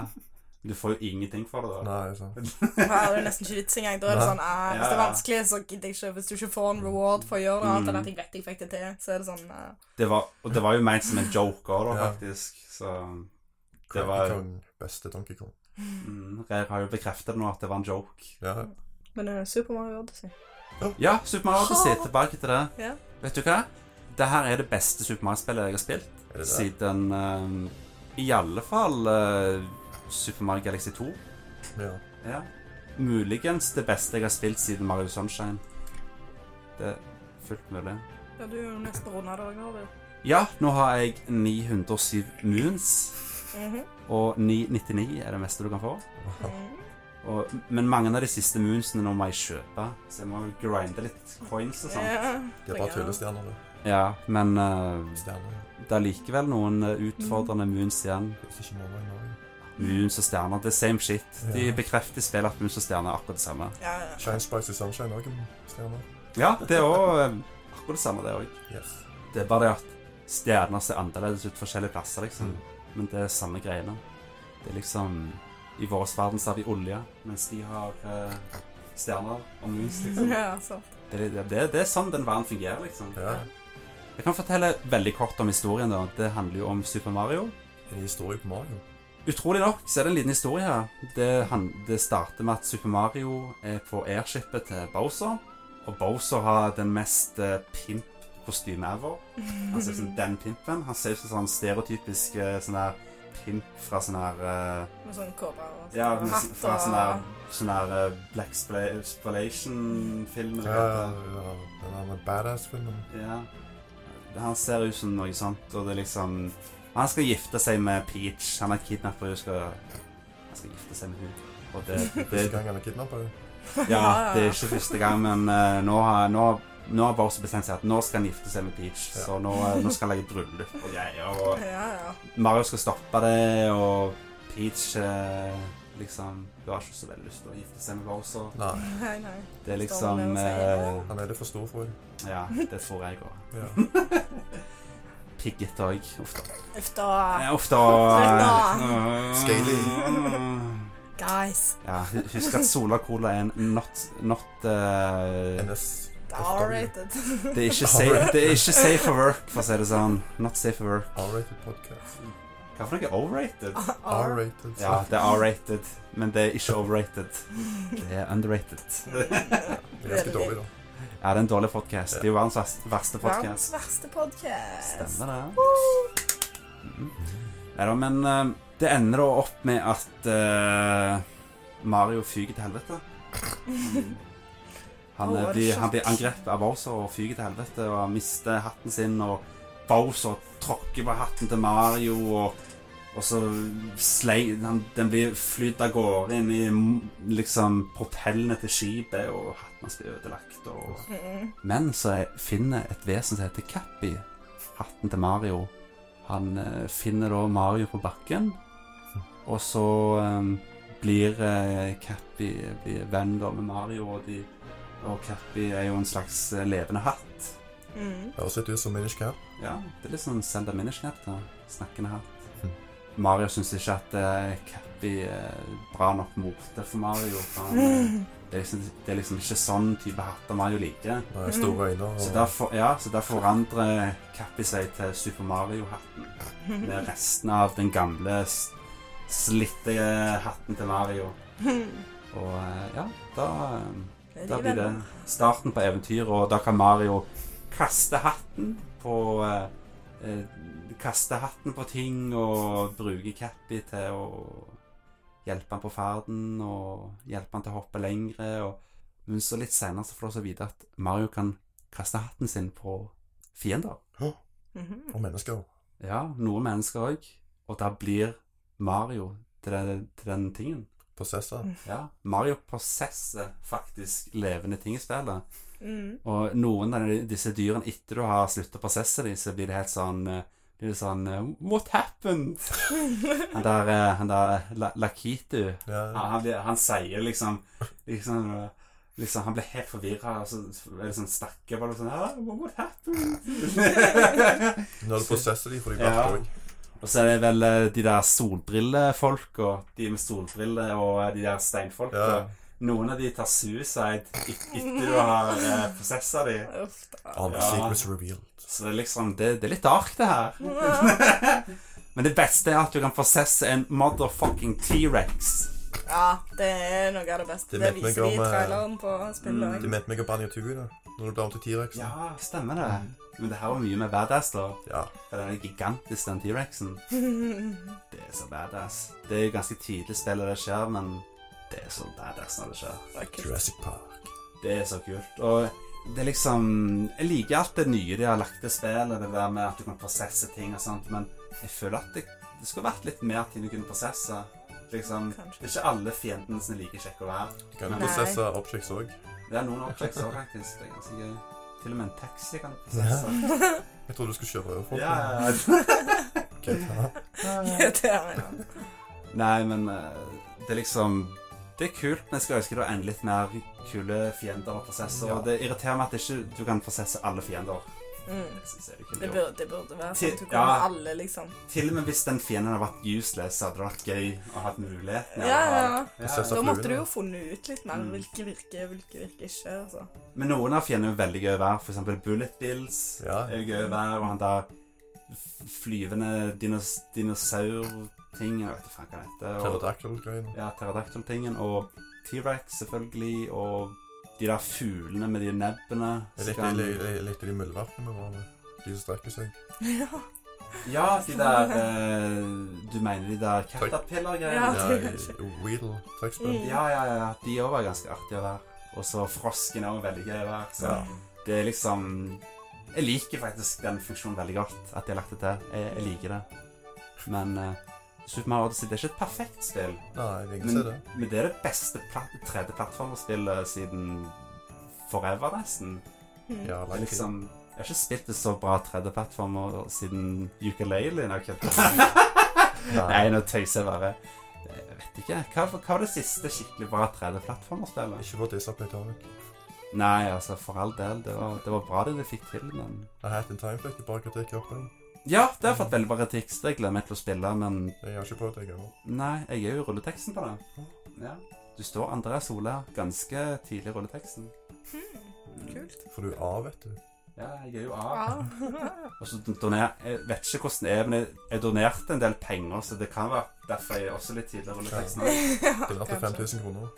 Du får jo ingenting for det, da. Nei, sant. Ja, det er jo nesten ikke vits engang. Da er det Nei. sånn ah, Hvis det er Ja. vanskelig, så gidder jeg ikke. Hvis du ikke får en reward for å gjøre det, annet enn Mm. at jeg vet jeg fikk det til, så er det sånn ah. <laughs> Det var, og det var jo ment som en joke òg, Ja. faktisk. Så Det Donkey var- Kong. Beste Donkey Kong. mm, Rare har jo bekreftet det nå, at det var en joke. Ja. Men uh, Super Mario Odyssey Ja, Super Mario Odyssey. Tilbake til det. Ja. Vet du hva? Det her er det beste Super Mario-spillet jeg har spilt Er det det? siden eh, I alle fall eh, Super Mario Galaxy 2. Ja. <laughs> Ja. Muligens det beste jeg har spilt siden Mario Sunshine. Det er fullt mulig. Ja, du er jo nesten runda det òg, Harvey. Ja, nå har jeg 907 moons, Mhm. og 999 er det meste du kan få. Og, men mange av de siste moonsene nå må jeg kjøpe, så jeg må jo grinde litt coins og sånn. De er bare tullestjerner, det. Ja, men eh, Stjerner. det er likevel noen eh, utfordrende moons igjen. Hvis ikke mora i Norge. Moons og stjerner, det er same shit. De Ja. bekrefter i spillet at moons og stjerner er akkurat det samme. Ja, ja. Shine Spice i Sunshine òg en stjerne. Ja, det er òg akkurat det samme, det òg. Yes. Det er bare det at stjerner ser annerledes ut forskjellige plasser, liksom. Mm. Men det er samme greiene. Det er liksom I vår verden så har vi olje, mens de har eh, stjerner og moons, liksom. ja sant. Det, er- det, er- det er sånn den verden fungerer, liksom. Ja. Jeg kan fortelle veldig kort om historien. da. Det handler jo om Super Mario. En historie på Mario. Utrolig nok så er det en liten historie her. Det, han, det starter med at Super Mario er på airshipet til Bowser. Og Bowser har den mest eh, pimp-kostyme ever. Han ser ut Mhm. som den pimpen. Han ser ut som sånn stereotypisk eh, sånn der pimp fra sånn her eh, Med sånn kåpe og Ja, sånn med, hatt fra og sånn her, sånn her eh, Black Spolation-film. Ja, ja, ja. Den der med badass-filmen. Ja. Han ser ut som noe sånt, og det er liksom Han skal gifte seg med Peach. Han er kidnapper og skal Han skal gifte seg med hun. Og det, Første det <laughs> gang han er kidnappa. Ja, det er ikke første gang, men eh, nå har, nå, nå har Bowser bestemt seg at nå skal han gifte seg med Peach. Ja. Så nå, eh, nå skal han legge bryllup og greier. Og Ja, ja. Mario skal stoppe det, og Peach eh, liksom Hun har ikke så veldig lyst til å gifte seg med Bowser. Nei, Nei, nei. Det er Står liksom hun der og eh, han er litt for stor for henne. Ja, det tror jeg òg. Ja. <laughs> Pigget òg. Uff da. Uff da. Eh, Uff da. Uff Scaly. Guys. Ja, hu- husk at Sola Cola er en not, not eh, NS. Det er <laughs> R-rated. det, er ikke safe, det er ikke safe for work, for å si det sånn. Not safe for work. R-rated podcast. Hva for noe? Overrated? <laughs> R. R-rated. Ja, det er R-rated, men det er ikke overrated. Det er <laughs> underrated. Det er ganske dårlig, da. Ja, det er en dårlig podcast. Det er jo verdens vers- verste Verdens podcast. verste podkast. Stemmer det. Mm. Neida, men eh, det ender da opp med at eh, Mario fyker til helvete. Han, Åh, eh, var det blir, sjokk? han blir angrepet av Bowser og fyker til helvete og han mister hatten sin, og Bowser tråkker på hatten til Mario, og, og så slei, han, den blir flydd av gårde inn i mm, liksom propellene til skipet, og hatten hans blir ødelagt. og... Mm. Men så jeg finner et vesen som heter Cappy, hatten til Mario. Han eh, finner da Mario på bakken, og så eh, blir eh, Cappy blir venn da med Mario, og, de, og Cappy er jo en slags eh, levende hatt. Mm. Høres litt ut som Minish Cap. Ja, det er litt sånn Zelda Minish-knapp, da. Snakkende hatt. Mhm. Mario syns ikke at eh, Cappy er bra nok mote for Mario. For han, eh, det, er liksom, det er liksom ikke sånn type hatter Mario liker. Nei, store øyne og Så derfor, ja, så derfor forandrer Cappy seg til Super Mario-hatten. <laughs> Med resten av den gamle, s- slitte hatten til Mario. Og eh, ja, da, eh, Det da er de blir det venner. starten på eventyret, og da kan Mario kaste hatten på eh, eh, Kaste hatten på ting og bruke Cappy til å hjelpe han på ferden og hjelpe han til å hoppe lengre. Og, men så litt senere så får du også vite at Mario kan kaste hatten sin på fiender. Mhm. og mennesker. Ja, noen mennesker òg. Og da blir Mario til den, til den tingen. Prosesser. Ja, Mario possesser faktisk levende ting i spillet. Mm. Og noen av de- disse dyrene etter du har sluttet å possesse dem, så blir det helt sånn eh, blir det sånn eh, What <laughs> happened? Han der, eh, han der La Lakitu Ja, han, han, blir, han sier liksom Liksom, eh, liksom Han blir helt forvirra, og så er det sånn stakker bare sånn ah, What happened? Når du prosesser de, får de Ja. hvert òg. Og så er det vel eh, de der solbrillefolka. De med solbriller og eh, de der steinfolka. Ja. Noen av de tar suicide et- etter du har eh, prosessa de. Uff da. All the Ja. secrets revealed. Så det er liksom det, det er litt dark, det her. Men det beste er at du kan prosesse en motherfucking T-rex. Ja, det er noe av det beste. Det Det vet meg viser de i om, eh, traileren på spillet De mente meg å banne tugu, da. Når du ble om til T-rex. Ja, stemmer det. Men det her var mye mer badass, da. ja. For den er gigantisk, den T-rexen. òg. Det er så badass. Det er jo ganske tidlig spill når det skjer, men det er så badass når det skjer. Jurassic Park. Det er så kult. Og det er liksom Jeg liker alt det nye de har lagt til spillet, det der med at du kan prosesse ting og sånt, men jeg føler at det, det skulle vært litt mer ting du kunne prosesse. Liksom, Kanskje. det er ikke alle fiendene som er like kjekke å være. Du kan jo Nei. prosesse objects òg. Det er noen objekts også, faktisk. Det er ganske gøy. eh, Til og med en taxi kan du prosesse. Jeg trodde du skulle kjøre over folk. Ja, ja, Ok, ja. ja. GTA, ja. Nei, men eh, det er liksom Det er kult, men jeg skulle ønske det var enda litt mer kule fiender å prosesse. Og det irriterer meg at ikke du ikke kan prosesse alle fiender. Mm. Det synes jeg er kult. Det burde, det burde være sånn at du Ti- kommer ja. alle, liksom. Til og med hvis den fienden hadde vært useless, så hadde det vært gøy å ha muligheten. Ja, ja, ja. ja. Da Absolutt. måtte du jo funnet ut litt mer Mm. hvilke virker, hvilke virker ikke. altså. Men noen av fiendene er jo veldig gøy å være. For eksempel Bullet Bills Ja. er jo gøy å være, og han der f- flyvende dinos dinosaurting Jeg vet ikke faen hva det heter. Og, Pterodactyl-greiene. ja, Pterodactyl-tingen. Og T-rex, selvfølgelig. Og de der fuglene med de nebbene. Jeg som likte, kan- jeg, jeg likte de muldvarpene vi var med. De som strekker seg. Ja. Ja, de der eh, Du mener de der caterpillar-greiene? Ja, Ja, det er ikke- i- Weedle, trekkspill. Mm. Ja, ja, ja. De òg var ganske artige å være. Og så frosken er også veldig gøy å være. Så Ja. det er liksom Jeg liker faktisk den funksjonen veldig godt, at de har lagt det til. Jeg, jeg liker det. Men eh, Super Mario Odyssey det er ikke et perfekt spill, Nei, jeg vil ikke men, se det. men det er det beste pla- tredje plattformerspillet siden forever, nesten. Ja, Mm. Det er lang tid. liksom, jeg har ikke spilt det så bra tredje plattformer siden Ukulele. Når jeg <laughs> kjøpte den. Nei, nå tøyser jeg bare. Jeg vet ikke. Hva, hva var det siste skikkelig bra tredje plattformerspillet? Ikke for å disse Playtonic. Nei, altså, for all del. Det var, det var bra det de fikk til, men A Hat in Time fikk jo bare kritikk opp den. Ja, det har fått veldig bra kritikk, så det gleder jeg meg til å spille, men Jeg har ikke prøvd det engang. nei, jeg er jo i rulleteksten på det. Ja. Du står Andrea Sola ganske tidlig i rulleteksten. Mm. Kult. For du er A, vet du. Ja, jeg er jo A. Ja. Og så doner, Jeg vet ikke hvordan det er, men jeg, jeg donerte en del penger, så det kan være derfor jeg er også litt tidligere under teksten. Det er til 5000 kroner.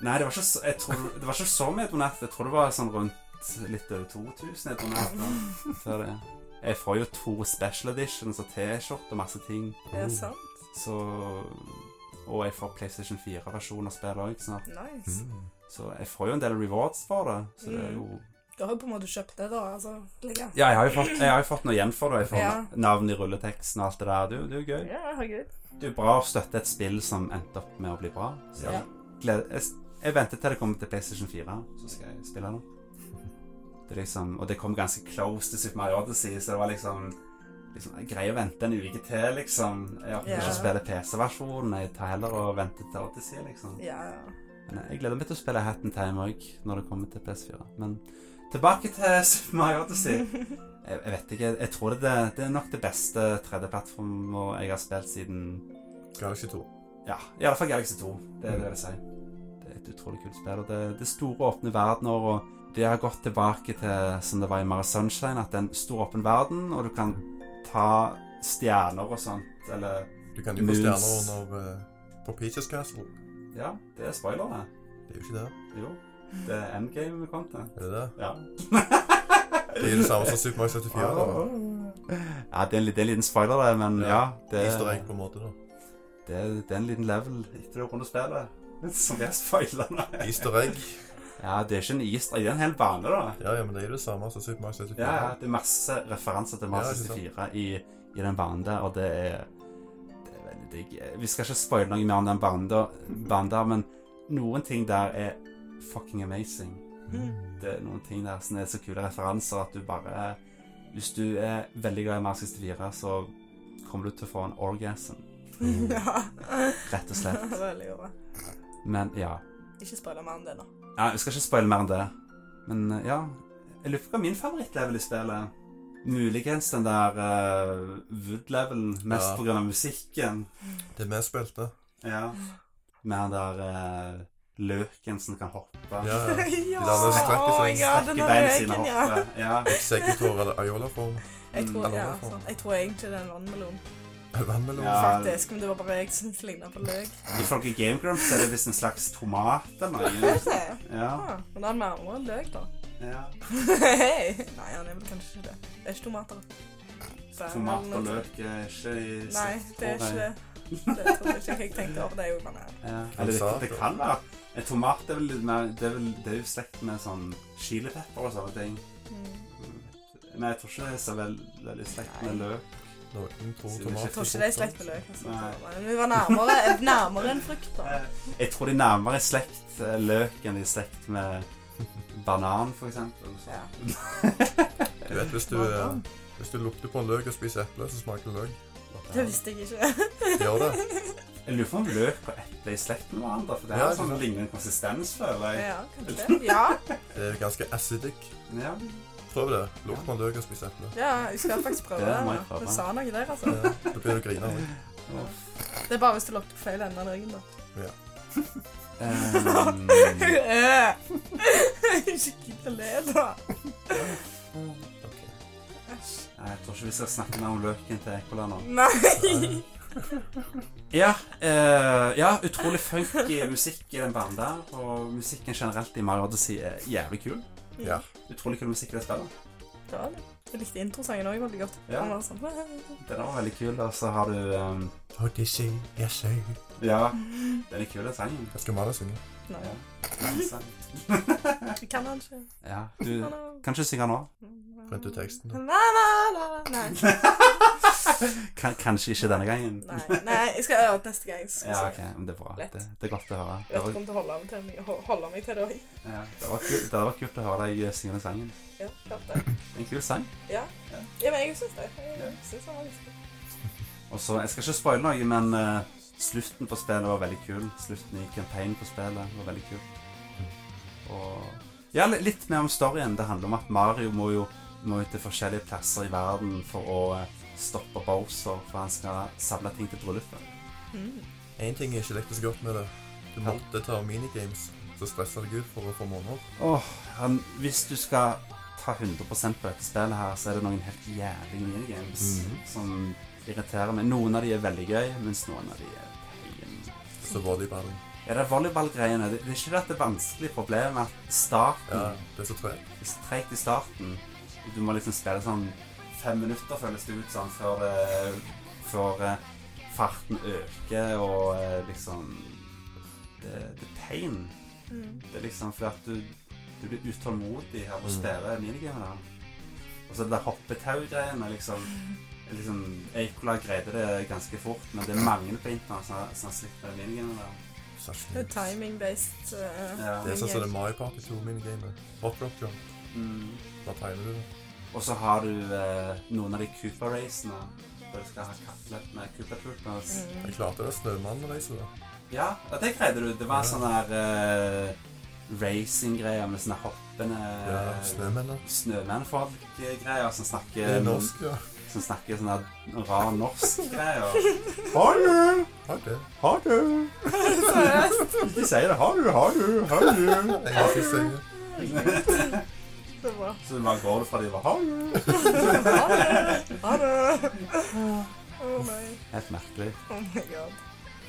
Nei, det var ikke, så- jeg tror, det var ikke så mye jeg donerte. Jeg tror det var sånn rundt litt over 2000 jeg donerte. Så det. Jeg får jo to special editions og T-skjorte og masse ting. Det er sant. Så Og jeg får PlayStation 4-versjon av spillet òg snart. Nice. Så jeg får jo en del rewards for det. Så det er jo Du har jo på en måte kjøpt det, da. altså. Ligge. Ja, jeg har jo fått, jeg har jo fått noe igjen for det. Jeg får Ja. navn i rulleteksten og alt det der. Det er jo- det er jo gøy. Ja, herregud. Det er bra å støtte et spill som endte opp med å bli bra. Så Ja. jeg, gleder, jeg, jeg venter til det kommer til PlayStation 4, så skal jeg spille det. det er liksom, og det kom ganske close til Super Mario Odyssey, så det var liksom, liksom Jeg greier å vente en uke til, liksom. Jeg orker Ja. ikke å spille PC-versjonen. Jeg tar heller og venter til Odyssey, liksom. Ja. Men jeg gleder meg til å spille Hat in Time òg, når det kommer til PS4. Men tilbake til Super Mario Odyssey. Jeg, jeg vet ikke. Jeg tror det, det er nok det beste 3D-plattformen jeg har spilt siden Galaxy 2. ja, i alle fall Galaxy 2. Det er det jeg vil si. Det er et utrolig kult spill. Og det, det store, åpne verdener, og det har gått tilbake til som det var i Mara Sunshine, at det er en stor, åpen verden, og du kan ta stjerner og sånt, eller Du kan jo få Mus. stjerner under eh, på Peaches Castle. Ja, det er spoilere. Det er jo ikke det. Jo. Det er endgame-content. Er det det? <laughs> Ja. Det <laughs> er det samme som Super Mario 74. da. Ja, det er en, li- det er en liten spoiler, det, men Ja. ja. det, Easter egg, på en måte. da. det, er- det er en liten level etter du har rundet spillet. <laughs> Som er spoilerne. Easter egg. Ja, det er ikke en is, det er en hel bane, da. Ja, ja, men det er jo det samme som Super Mario 74. Ja, ja, det er masse referanser til Ja, Mario ikke sant. 64 i, i den banen der, og det er, det er veldig digg. Vi skal ikke spoile noe mer om den banen der, banen der, men noen ting der er fucking amazing. Det er noen ting der som er så kule referanser at du bare Hvis du er veldig glad i Mario 64, så kommer du til å få en orgasm, <laughs> ja. rett og slett. Veldig bra. Men ja. Ikke spoil mer om det nå. Ja, Vi skal ikke spoile mer enn det. Men eh, ja Jeg lurer på hva min favorittlevel i spillet Muligens den der eh, Wood-levelen, mest Ja. på grunn av musikken. Det vi spilte. Ja. Med den der eh, løken som kan hoppe. Ja, ja. <laughs> ja! la meg strekke Oh my seg. god, den Strekke der bein sine røyken, og ja. hoppe. Ja. Sekretor eller Ayola-form. Jeg tror, Mm. ja, sant. jeg tror egentlig det er en vannmelon, Vannmelon. Ja. faktisk. Men det var bare jeg som lignet på løk. Ifølge Game Grumps er det visst en slags tomat eller noe. Ja. Ah, men han nærmer en løk, da. ja. Hei! Nei, han er vel kanskje ikke det. Det er ikke tomater. Så er Tomat han- og løk er ikke i Nei, det er ikke det. Det tror jeg ikke jeg tenkte over. Det er jo bare Ja. Eller det, det kan være. En tomat er vel litt mer Det er, vel, det er jo slekt med sånn chilipepper og sånne ting. mm. Nei, jeg tror ikke det er så veld, veldig slekt med løk. Noen to Sier du tomater. Jeg tror ikke det er i slekt med løk. Altså. Nei. Men vi var nærmere, nærmere en frukt, da. Jeg tror de er nærmere i slekt eh, løk enn de er slekt med banan, for eksempel. Så. Ja. Du vet, hvis du, eh, hvis du lukter på en løk og spiser eple, så smaker det løk. Det visste jeg ikke. Gjør det? Jeg lurer på om løk og eple er i slekt med hverandre, for det Ja, har ikke sånn sant. lignende konsistens, føler jeg. <laughs> Ja, kanskje. Ja, Det er ganske acidic. Ja. Prøv det. Lukt på en løk og spis eple. ja jeg skal faktisk prøve Det må jeg det. da. prøve. Du sa noe der, altså. Ja, Da begynner du å grine. Mm. også. Det er bare hvis du lukter på feil ende av ryggen, <laughs> da. Ehm, <laughs> Ikke gidd å le, da. Ok. Æsj. Nei, jeg tror ikke vi skal snakke mer om løken til Ekola nå. Nei. Ja, eh, ja, utrolig funky musikk i den banden der, og musikken generelt i Mario Odyssey er jævlig kul. Ja. Utrolig kul musikk i det spillet. Det var det. Jeg likte introsangen òg veldig godt. Ja. Den var sånn Den var veldig kul, og så har du ehm, Odyssey, yes, sir. <laughs> Ja, den er kul, den sangen. Hva skal Mala synge? Nei, Ja. Den sang. jeg kan den ikke. Ja, <laughs> du kan ikke synge nå. Prøvde du teksten da? La, la, la, la. Nei. Kan, kanskje ikke denne gangen. Nei, nei, jeg skal øve det neste gang. Jeg skal Ja, se. ok, men Det er bra. Lett. Det, det er godt å høre. Jeg Det vet var, ikke om du holder meg til, det, men jeg holder meg til det òg. ja, det var, kult, det hadde vært kult å høre deg synge den sangen. Ja, klart det. En kul sang. Ja. Ja. ja, men jeg syns det. Jeg synes det var litt kult. Og så, Jeg skal ikke spoile noe, men eh, slutten på spillet var veldig kul. Slutten i campaign på spillet var veldig kul. Og ja, li- Litt mer om storyen. Det handler om at Mario må jo må jo til forskjellige plasser i verden for å eh, stoppe Bowser, for han skal samle ting til bryllupet. Mm. Én ting jeg ikke likte så godt med det. Du måtte ta minigames. Så stressa deg ut for å få måneder. Åh, han, hvis du skal ta 100 på dette spillet her, så er det noen helt jævlig minigames Mhm. som irriterer meg. Noen av de er veldig gøy, mens noen av de er pain. Så var det i ballen. Ja, det er volleyballgreiene. Det, det er ikke det at det er vanskelig. Problemet er at starten Ja, det er så tregt. det er så tregt i starten. Du må liksom spille sånn fem minutter, føles det ut som, før, det, før eh, farten øker og eh, liksom Det, det er pain. Mm. Det er liksom fordi at du, du blir utålmodig av å Mm. spille minigamer. der. Og så det der hoppetau-greiene liksom, liksom Eikola greide det ganske fort, men det er mange på internett som har- som har slitt med minigamer. der. Det er Sasjen. timing-based. eh, Ja. Det er sånn som det er Mario Party 2-minigamet. Hot Rock Jump. Mm. Da timer du det. Og så har du eh, noen av de Cooper-racene hvor du skal ha kappløp med Cooper Troopers. Mm. Jeg klarte det snømannracet, da. Ja, og det greide du. Det var Ja. sånne her eh, racing-greier med sånne hoppende Ja, snømennene. Snømennfolk-greier som Det snakker er norsk, ja. Som snakker sånne rar norsk-greier. <laughs> Har du? Har det. Har du? <laughs> Seriøst? De sier det. Har du? Har du? Har du? Jeg er ikke sikker. Det var <laughs> Så du bare går fra de bare Har du? Ha det! Ha <laughs> det! Oh nei. Helt merkelig. Oh my god.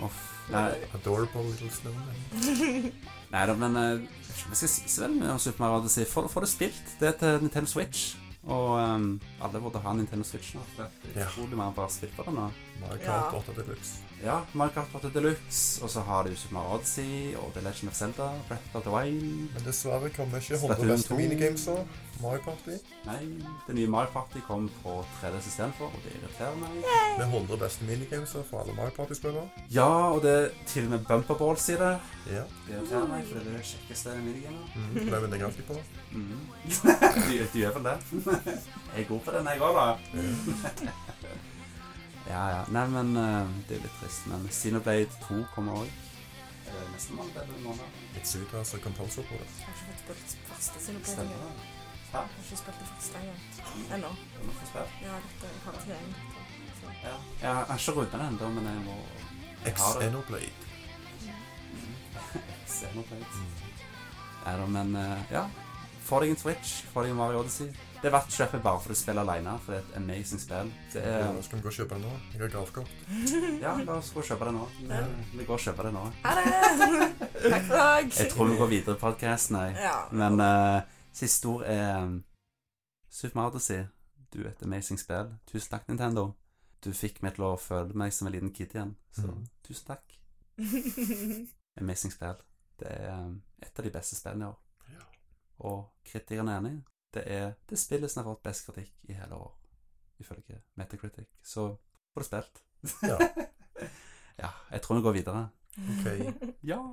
Uff. Nei. Adorable little snowman. Nei da, men eh, jeg vet ikke om jeg skal si så veldig mye om Super Mario Odyssey. Få få det spilt. Det er til Nintendo Switch. Og ehm, alle burde ha Nintendo Switch nå. For det er Ja. utrolig mange bare spiller på det nå. Mario Ja. Kart 8 Deluxe. Ja, Mario Kart 8 Deluxe, og så har du Super Mario Odyssey og The Legend of Zelda, Breath of the Wild Men dessverre kommer ikke Splatoon 100 beste 2. minigames òg. Mario Party. Nei, det nye Mario Party kom på 3DS istedenfor, og det irriterer meg. Med 100 beste minigames for alle Mario Party-spillere. Ja, og det er til og med bumper balls i det. Ja. Det irriterer meg, for det er det kjekkeste i minigamet. <laughs> Mm. Det vinner jeg alltid på. Mm. du, du gjør vel det? jeg er god på den, jeg òg, da. Ja. <laughs> Ja, ja. Nei, men eh, det er litt trist. Men Xenoblade 2 kommer òg. Neste måned eller en måned. Itsuka som composer på det. Jeg har ikke fått spilt første Stemmer sinopletinga. det? Jeg har ikke spilt det første engang. Ennå. Det må få spilt. Ja, dette jeg har trening. Så. Ja. Jeg har ikke runda den ennå, men jeg må jeg har <laughs> det. Xenoblade. Xenoblade. Mm. Nei da, men eh, ja. Få deg en Switch. Få deg en Mario Odyssey. Det er verdt kjøpet bare for å spille alene, for det er et amazing spill. Det Ja, er, nå skal vi gå og kjøpe den nå. Jeg har gravkort. <laughs> ja, la oss gå og kjøpe det nå. Ja. Vi går og kjøper det nå. Ha det! Takk for i Jeg dag. tror vi går videre i podkasten, jeg. Ja. <laughs> Men eh, siste ord er um, Super Mario Odyssey. Du er et amazing spill. Tusen takk, Nintendo. Du fikk meg til å føle meg som en liten kid igjen. Så Mhm. tusen takk. Amazing spill. Det er um, et av de beste spillene i år. Ja. Og kritikerne er enig. Det er det spillet som har fått best kritikk i hele år, ifølge Metacritic. Så får det spilt. Ja. <laughs> ja. Jeg tror vi går videre. <laughs> Ok. Ja.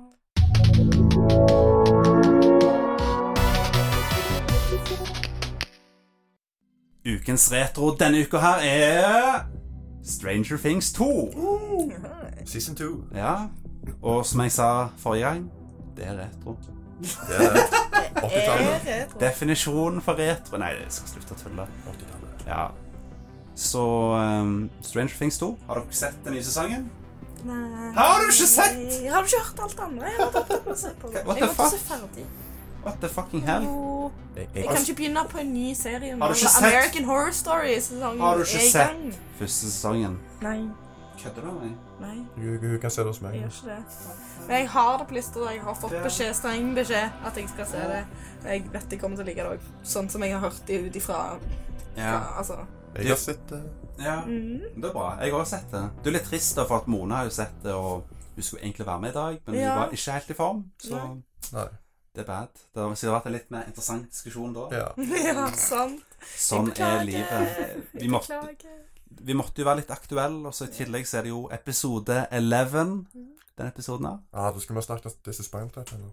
Ukens retro denne uka her er Stranger Things 2. Uh. Season 2. Ja, og som jeg sa forrige gang, det er retro. Det er 80-tallet. Definisjonen for retro Nei, jeg skal slutte å tulle. 80-tallet. Ja. Så ehm, Stranger Things 2, har dere sett den nye sesongen? Har du ikke sett? Har du ikke hørt alt andre? Jeg har tatt opp og sett på det. What the Jeg måtte fuck? se ferdig. What the fucking hell? Jo. Jeg, Jeg kan ikke begynne på en ny serie nå. Har du ikke Altså, sett? American Horror Story-sesongen Har du ikke er i sett? gang. Første sesongen. Nei, Kødder du med meg? nei, Hun, hun kan se det hos meg. jeg gjør ikke det. Men jeg har det på lista, og jeg har fått Ja. beskjed, streng beskjed, at jeg skal se det. Jeg vet jeg kommer til å like det òg, sånn som jeg har hørt det ut ifra Ja. fra- Altså. Jeg har sett det. ja. Mm. <laughs> Det er bra. Jeg har også sett det. Du er litt trist da, for at Mona har jo sett det, og hun skulle egentlig være med i dag, men Ja. hun var ikke helt i form, så Nei. Nei. det er bad. Det har sikkert vært en litt mer interessant diskusjon da. Ja. Ja, sant. Sånn er beklager. livet. Vi måtte, Beklager. Vi måtte jo være litt aktuelle, og så i tillegg så er det jo episode 11. Den episoden her. Ah, da skulle vi ha snakket om This is Spinal Tap. eller?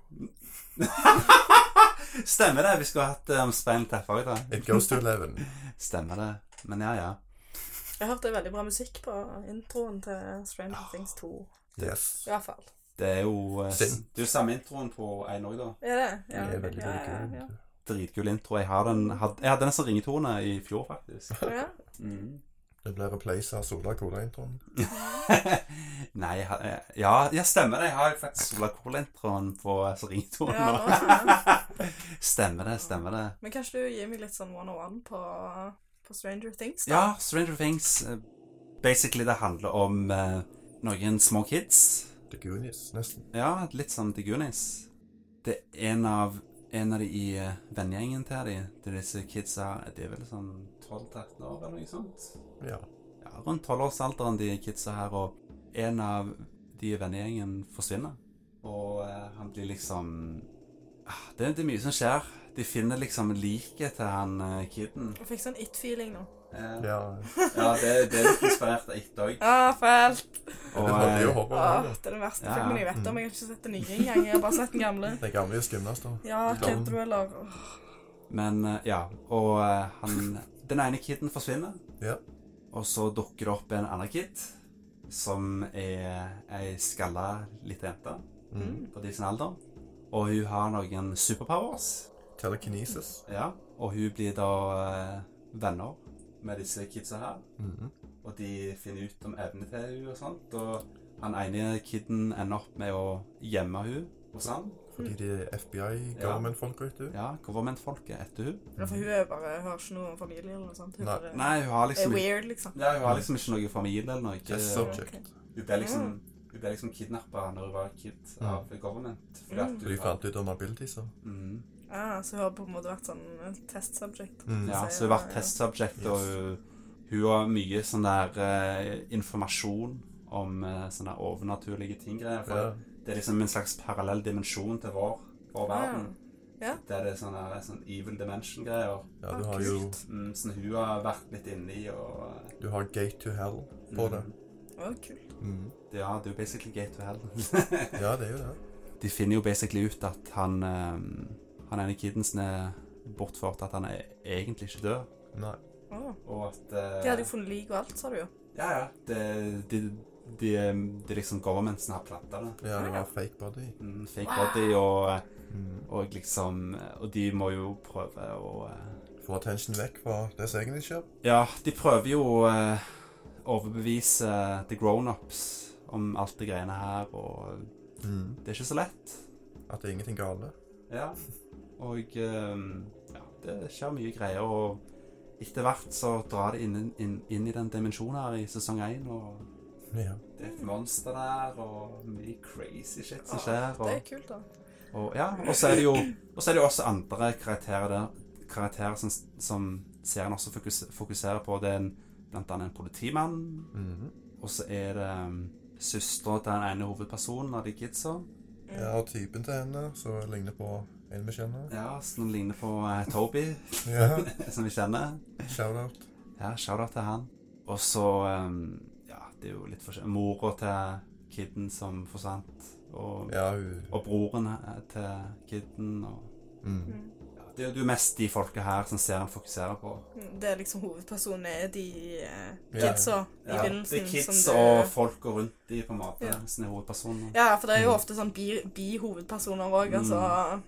Stemmer det. Vi skulle ha hatt eh, om Spinal Tap òg, da. It goes to eleven. Stemmer det. Men ja, ja. Jeg hørte veldig bra musikk på introen til Stranger Things 2. Yes. I hvert fall. Det er jo eh, s- Synd. Det er jo samme introen på en òg, da. Er det? Det er veldig, ja, veldig kult. ja, Dritkul intro. Jeg har den, had, jeg hadde den som ringetone i fjor, faktisk. ja. ja. Mm. Det blir replace av Sola Cola-introen. <laughs> Nei, jeg har- jeg- ja, ja, stemmer det. Jeg har faktisk Sola Cola-introen på eh, som ringetone Ja, nå. nå skjønner jeg. <laughs> Stemmer det, stemmer det. Men kanskje du gir meg litt sånn 101 på, på Stranger Things? da? Ja, Stranger Things. eh, Basically, det handler om eh, noen små kids. The Goonies, nesten. Ja, litt som The Goonies. Det er en av, en av de i eh, vennegjengen til de, det er disse kidsa, de er vel sånn 12-13 år eller noe sånt. Ja. Ja, rundt 12-årsalderen de kidsa her, og en av de i vennegjengen forsvinner. Og eh, han blir liksom... Ah, Det, det er mye som skjer. De finner liksom liket til han eh, kidden. Jeg fikk sånn it-feeling nå. Eh, ja. ja, det, det er litt inspirert av ett òg. Ja, fælt. Og, Det holder jo eh, å håpe Åh, om det. det er den verste Ja, ja. filmen jeg vet om. Jeg har ikke sett den nye engang. Jeg har bare sett den gamle. Det gamle er skummelt, da. Ja, Kid-thriller. Men eh, ja, og eh, han Den ene kiden forsvinner. Ja. Og så dukker det opp en annen kid som er ei skalla lita jente Mm. på de sin alder. Og hun har noen superpowers. Telekinesis. Ja, og hun blir da eh, venner med disse kidsa her. Mm. Og de finner ut om evnene til henne og sånt. Og han ene kiden ender opp med å gjemme hun hos han. Fordi de er FBI, government-folk, vet du. Ja, government-folket etter hun. Ja, For hun er jo bare, har ikke noe familie eller noe sånt. Hun Nei. bare Nei, hun har er liksom ikke, weird, liksom. ja, hun har liksom ikke noe familie eller noe. Test subject. Hun ble liksom, Mm. hun ble liksom kidnappa når hun var kid av government. Fordi at Så de hun var, fant ut om abilities, da. mm, Ja, så hun har på en måte vært sånn eh, test subject. Mm. ja, så hun var testsubject, og hun, hun har mye sånn der eh, informasjon om eh, sånne overnaturlige ting. greier, For Ja. Det er liksom en slags parallell dimensjon til vår, vår verden. Ja. Der det er sånne, sånn evil dimension-greier. ja, Ah, du har jo Mm, som hun har vært litt inni og mm, Du har Gate to Hell på det. Å, kult. Mm. Ja, det er jo basically gate to hell. Ja, det er jo det. <laughs> De finner jo basically ut at han eh, Han ene kiden som er bortført, at han er egentlig ikke død. Nei. Å. Og at eh, De hadde jo funnet lik og alt, sa du jo. Ja, ja. Det, de, de, de liksom Governmentsen har planta det. Ja, det Ah, var fake body. Mm, Fake body og, Mm. og liksom Og de må jo prøve å eh, Få attention vekk fra det som egentlig skjer. Ja, de prøver jo å eh, overbevise eh, the grownups om alt det greiene her, og Mm. det er ikke så lett. At det er ingenting gale. Ja. Og ehm, ja, det skjer mye greier, og etter hvert så drar det inn, inn, inn i den dimensjonen her i sesong 1, og Ja. det er et monster der, og mye crazy shit som Å, skjer, Det er og, kult, da. og ja, og så er det jo og så er det jo også andre karakterer der, karakterer som, som serien også fokus, fokuserer på, det er en, blant annet en politimann, Mm. og så er det um, søstre til den ene hovedpersonen av de kidsa, Jeg har typen til henne som ligner på en vi <laughs> kjenner. ja, som ligner på eh, Toby, <laughs> Ja. som vi kjenner, Shout-out. Ja, shout-out til han. Og så ehm, Ja, det er jo litt forskjellig Mora til kiden som forsvant, og, Ja, hun og broren eh, til kiden og mm. ja, Det er jo- det er jo mest de folka her som serien fokuserer på. Det er liksom hovedpersonen er de eh, Ja. kidsa i det er begynnelsen. kids som du- og folka rundt de på en måte, Ja. som er hovedpersonene. Ja, for det er jo ofte sånn bi- bi-hovedpersoner òg, Mm. altså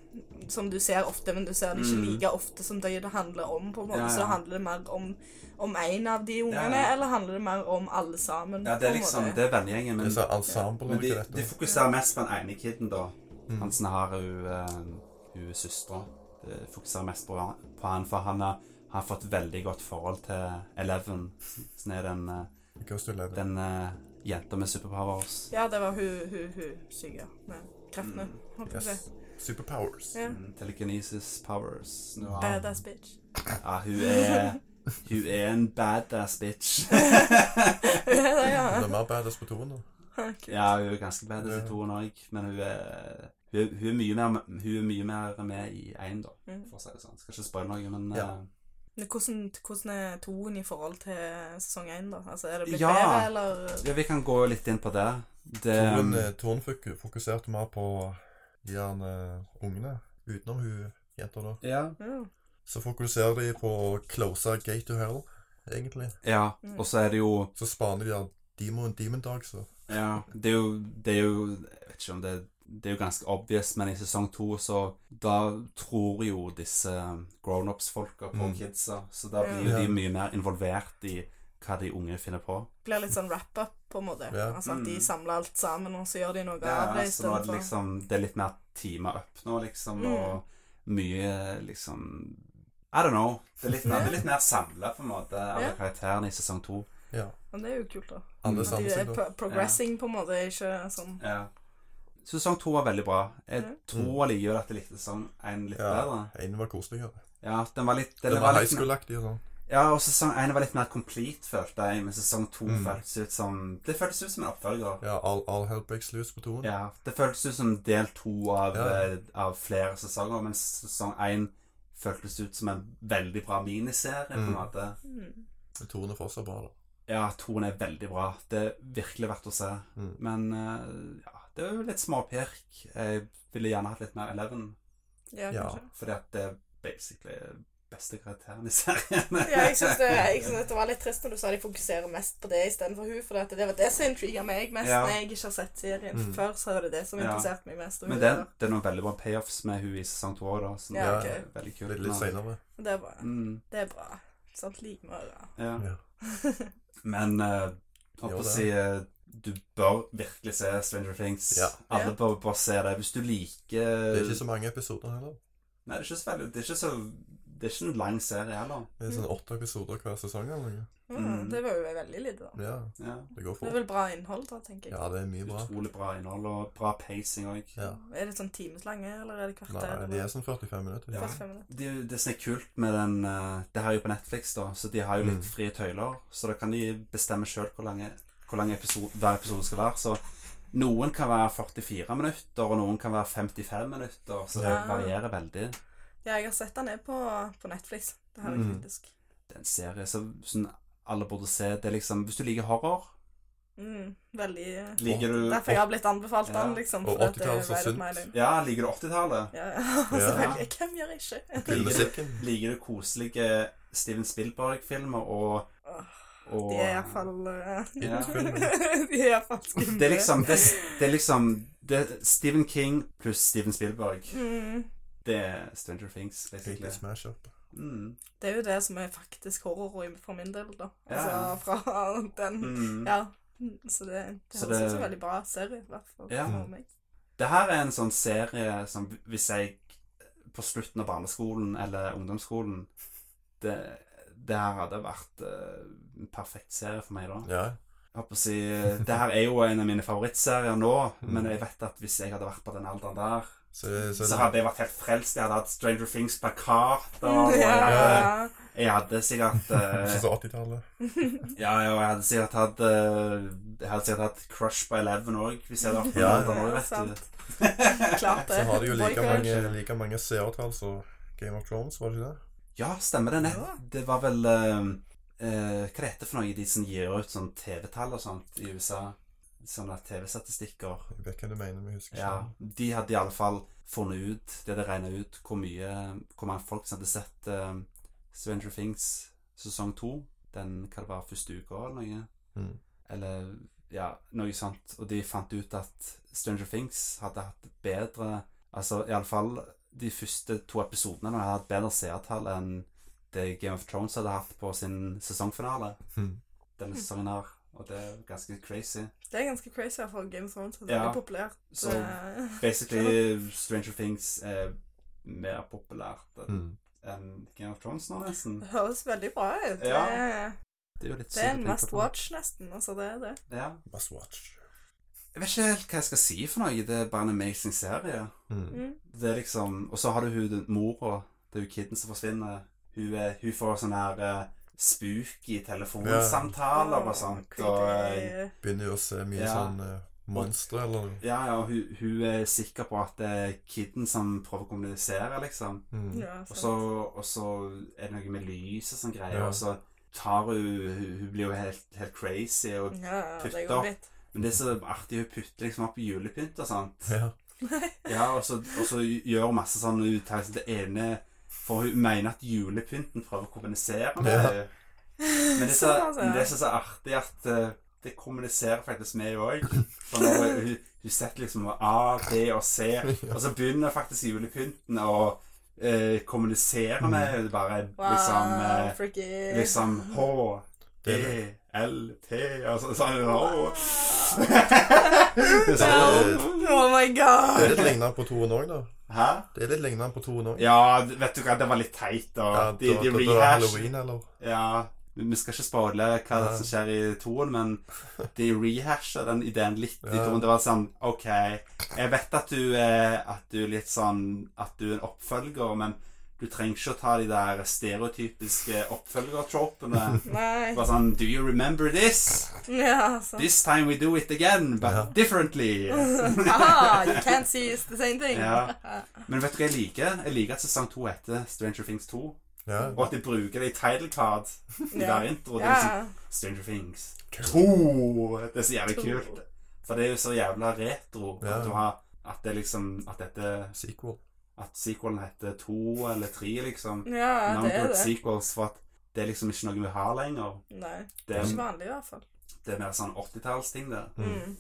Som du ser ofte, men du ser det ikke Mm. like ofte som det det handler om, på en måte. Ja, ja. Så handler det mer om om én av de ungene, ja. eller handler det mer om alle sammen? Ja, det er på en liksom måte? Det er vennegjengen, Det er men, så ensemble men til de, dette. de fokuserer mest på den ene kiden, da. Mm. Han som har hun, ehm, hun søstera. De Fokuserer mest på, han- på han, for han har, han har fått veldig godt forhold til Eleven, som er den eh, Goes to eleven. Den eh, jenta med superpowers. Ja, det var hun, hun, hun syke med kreftene. holdt jeg på å Yes. si. Superpowers. Ja. Mm, Telekinesis powers. Nå har- Badass bitch. Ja, hun er Hun er en badass bitch. Ja, det, Hun ja. er mer badass på toen, da. ja, hun er ganske badass Ja. i toen òg, men hun er hun, er- hun, er mye mer, hun er mye mer med i én, da, Mm. for å si det sånn. Skal ikke spoile noe, men Ja. eh, Men Hvordan, hvordan er toen i forhold til sesong én, da? Altså, er det blitt Ja. bedre, eller Ja, vi kan gå litt inn på det. Det Torunn eh, Torunn fok- fokuserte mer på gjerne ungene, utenom hun jenta da. ja. ja. Så fokuserer de på å close gate to hell, egentlig. ja. Og så er det jo Så spaner de av demon, demon dogs. da. Ja, det er jo, det er jo Jeg vet ikke om det Det er jo ganske obvious, men i sesong to så Da tror jo disse grownups-folka på Mm. kidsa, så da blir jo Ja. de mye mer involvert i hva de unge finner på. blir litt sånn wrap-up, på en måte? Ja. Altså at de Mm. samler alt sammen, og så gjør de noe Ja, av det så nå er det istedenfor? liksom Det er litt mer teama up nå, liksom, Mm. og mye liksom I don't know. Det er litt mer, det er litt mer samla, på en måte, alle Ja. karakterene i sesong to. Ja. Men det er jo kult, da. Mm. Alle At sammen de seg er da. pro progressing, på en måte, ikke sånn Ja. Sesong to var veldig bra. Jeg Ja. tror allikevel at jeg likte sesong én litt Ja. bedre. En var koseligere. Ja, den var litt den Den var var high litt mer- school-aktig og sånn. Ja, og sesong 1 var litt mer complete, følte jeg, men sesong 2 Mm. føltes ut som Det føltes ut som en oppfølger. Ja, all, all hell breaks loose på toen. Ja, Det føltes ut som del to av, Ja. eh, av flere sesonger, mens sesong 1 føltes ut som en veldig bra miniserie, på Mm. en måte. mm. Toen er fortsatt bra, da. Ja, toen er veldig bra. Det er virkelig verdt å se. Mm. Men eh, ja, det er jo litt småpirk. Jeg ville gjerne hatt litt mer Eleven, Ja, Ja. kanskje. fordi at det er basically beste karakteren i serien. Ja, jeg syns det, jeg synes det var litt trist når du sa de fokuserer mest på det istedenfor hun, for at det var det som intriga meg mest. Ja. Når jeg ikke har sett serien Mm. før, så var det det som Ja. interesserte meg mest. <laughs> og Men hun det, var- det er noen veldig bra payoffs med hun i sesong to òg, da. Som Ja, er ok. veldig kult. Litt, litt Men- seinere. det er bra. Mm, Det er bra. Sant? Lik med øra. ja. Ja. Men eh, Jo, holdt på å det. si eh, Du bør virkelig se Stranger Things. Ja. Alle Ja. bør bare se det. Hvis du liker Det er ikke så mange episoder heller. Nei, det er ikke så veldig Det er ikke så Det er ikke en lang serie heller. Det er sånn åtte episoder hver sesong eller noe. <laughs> Ja, Mm. Det var jo veldig lite, da. Ja, Ja. det går Det er fort. vel bra innhold, da, tenker jeg. Ja, det er mye bra. Utrolig bra innhold og bra pacing òg. Ja. Er det sånn timeslange, eller er det Nei, kvarter? de eller er sånn 45 minutter. Ja. 45 minutter? Det, er jo- det som er kult med den eh, Det her er jo på Netflix, da, så de har jo litt Mm. frie tøyler. Så da kan de bestemme sjøl hvor lang hvor lang episode, hver episode skal være. Så noen kan være 44 minutter, og noen kan være 55 minutter. Så det Ja. varierer veldig. Ja, jeg har sett den er på, på Netflix. Det har jeg Mm. faktisk. Det er en serie som som alle burde se. Det er liksom Hvis du liker horror, Mm, veldig liker du Derfor jeg har blitt anbefalt Eh, Ja. den, liksom. Og fordi at det er 80-tallet så right up sunt. my lane. Ja, liker du 80-tallet? Ja, <laughs> ja. Selvfølgelig. Hvem gjør ikke? Liker, Killemusikken. du- liker du koselige Steven Spielberg-filmer og, Åh, og De er iallfall uh, Ja. <laughs> <laughs> De er iallfall skumle. Det er liksom Det, det er liksom det er Stephen King pluss Steven Spielberg. mm, Det er Stranger Things, basically. Egentlig smash up. Mm. Det er jo det som er faktisk horror i- for min del, da. Ja. Altså fra den Mm. Ja. Så det, det Så høres det- ut som en veldig bra serie, i hvert fall Ja. for meg. Det her er en sånn serie som hvis jeg på slutten av barneskolen eller ungdomsskolen Det, det her hadde vært eh, en perfekt serie for meg da. Ja. Jeg holdt på å si, eh, Det her er jo en av mine favorittserier nå, Mm. men jeg vet at hvis jeg hadde vært på den alderen der, Så, det- så, så hadde jeg vært helt frelst. Jeg hadde hatt Stranger <laughs> Things-plakater. og jeg hadde- Ja. Jeg hadde sikkert eh, Sånn som <laughs> 80-tallet. Ja, ja, og jeg hadde sikkert hatt eh, Jeg hadde sikkert hatt Crush på Eleven òg, hvis jeg hadde vært på den Ja, alderen ja, også, sant. vet <laughs> du. Klart det. Så har de jo like Boycott. mange, like mange seertall som Game of Thrones, var det ikke det? Ja, stemmer det. Nett. Ja. Det var vel eh, eh, Hva det heter for noe de som gir ut sånn TV-tall og sånt i USA? Sånne TV-statistikker. Jeg vet hva du mener, men jeg husker ikke. Ja, De hadde iallfall funnet ut De hadde regna ut hvor mye Hvor mange folk som hadde sett uh, Stranger Things sesong to. Den hva det var første uka eller noe. Mm. Eller ja, noe sånt. Og de fant ut at Stranger Things hadde hatt bedre Altså iallfall de første to episodene hadde hatt bedre seertall enn det Game of Thrones hadde hatt på sin sesongfinale Mm. denne sesongen her. Og det er ganske crazy. Det er ganske crazy, iallfall. Game of Thrones er Ja. veldig populært. Så eh, <laughs> Det- Basically, Stranger Things er mer populært enn Mm. enn Game of Thrones nå, nesten. Det høres veldig bra ut. Ja. Det, Det er jo litt det er sykt å en tenke must på. watch, nesten. Altså, det er det. Ja. Must watch. Jeg vet ikke helt hva jeg skal si for noe. Det er bare en amazing serie. Mm. Mm. Det er liksom Og så har du hun den- mora. Det er jo kiden som forsvinner. Hun, er, hun får sånn her eh, spooky telefonsamtaler og eh, sånt. Og, creepy. Begynner jo å se mye Ja. sånn eh, monstre eller noe. Ja, ja, hun, hun er sikker på at det er kiden som prøver å kommunisere, liksom. Mm. Ja, Og så, og så er det noe med lys og sånn greier, Ja. og så tar hun Hun hun blir jo helt, helt crazy. Og, ja, det putter. går litt. men det er så artig, hun putter liksom opp julepynt og sånt. Ja. Ja, og så, og så gjør hun masse sånne uttalelser. Det ene For hun mener at julepynten prøver å kommunisere med Ja. henne. Men det er <laughs> så, Sånn, altså. men det er så, så artig at eh, det kommuniserer faktisk med henne òg. For når hun, hun, hun setter liksom A, B og C, Altså, og så begynner faktisk julepynten å eh, kommunisere Mm. med henne. Bare Wow, liksom eh, freaky. Liksom H, E, Det er det. L, T og så, sånn. H. Det er, eh, Oh my god! det er litt lignende på toen òg, da. <laughs> Hæ? Det er litt lignende på toen òg. Ja, d- vet du hva, det var litt teit. Og de, de det var rehash halloween, eller? Ja, vi vi skal ikke spoile hva Nei. som skjer i toen, men de rehasha den ideen litt i Ja. toen. Det var sånn OK, jeg vet at du er, at du er litt sånn At du er en oppfølger, men du trenger ikke å ta de der stereotypiske oppfølgertropene. <laughs> Nei. Bare sånn Do you remember this? Ja, altså. sant. This time we do it again, but Ja. <laughs> differently. Haha, Ah, you can't see it's the same thing. Ja. Men vet du hva jeg liker? Jeg liker at sesong to heter Stranger Things 2. Ja. Og at de bruker det i title card i Ja. hver intro. Det er liksom Ja. Stranger Things Kult. 2. Det er så jævlig To. kult. For det er jo så jævla retro Ja. at du har At det liksom At dette Sequel. At sequelen heter to eller tre, liksom. ja, det er Numbered det. sequels. For at det er liksom ikke noe vi har lenger. Nei, Det det er er, ikke vanlig i hvert fall. det er mer sånn 80-tallsting, det. Mm. Mm.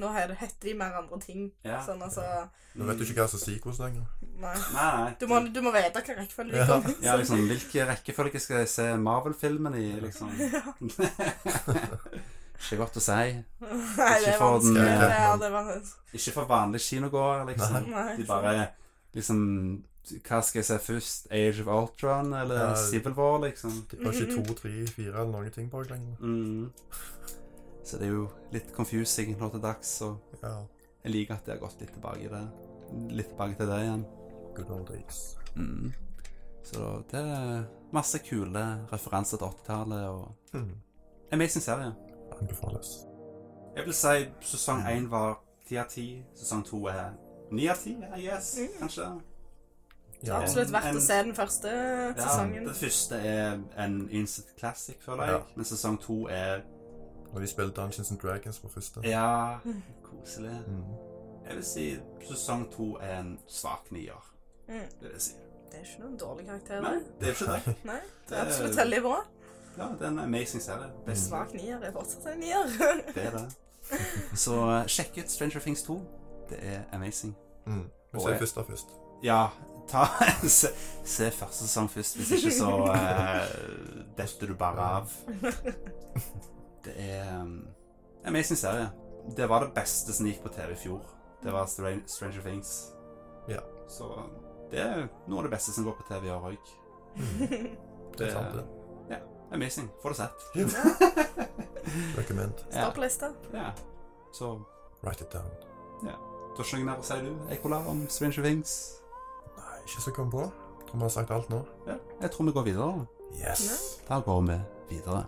Nå he- heter de mer andre ting. Ja. Sånn altså Nå vet du ikke hva som er sequels lenger. Nei. Nei, nei. Du må, du må vite hva rekkefølge de Ja. kommer ja, liksom, Hvilken rekkefølge skal jeg se Marvel-filmen i, <laughs> liksom? <laughs> ikke godt å si. Nei, det Ikke er for den, vanskelig. eh, Det er, det er vanskelig. Ikke for vanlige kinogåere, liksom. Nei. De bare liksom Hva skal jeg se først? Age of Ultron eller Ja. Civil War, liksom? Det var ikke to, tre, fire eller noen ting bak lenger. Mm. Så det er jo litt confusing nå til dags, og Ja. jeg liker at de har gått litt tilbake i det. Litt tilbake til det igjen. Good old days. Mm. Så det er masse kule referanser til 80-tallet og Mm. Amazing serie. Anbefales. Jeg vil si sesong Mm. én var ti av ti. Sesong to er ni av ti, I guess, kanskje. Ja. Absolutt verdt En- å se den første sesongen. det første er en instant classic, føler jeg. Ja. Men sesong to er Og de spiller Dungeons and Dragons på første. Ja, koselig. Mm. Jeg vil si sesong to er en svak nier. Mm. Det vil jeg si. Det er ikke noen dårlig karakter, Men det. det er jo ikke det. Nei, det Det er er- Mm. absolutt veldig bra. Ja, det er en amazing serie. Best Svak nier er fortsatt en <laughs> nier. det er det. Så eh, sjekk ut Stranger Things 2. Det er amazing. Mm. Men Og se jeg- først da først. Ja, ta <laughs> se, se første sesong først. Hvis ikke så eh, detter du bare av. Det er um, amazing serie. Det var det beste som gikk på TV i fjor. Det var Stran- Stranger Things. Ja. Så det er noe av det beste som går på TV i år òg. Det er sant, det. Amazing. Får det sett. Recommend. Ja. Stopplista. <laughs> ja. Så Write it down. du har ikke noe mer å si, du? Ekola om Stranger Things? Nei, ikke så kom på. Tror vi har sagt alt nå. Ja. Jeg tror vi går videre. Yes. Da går vi videre.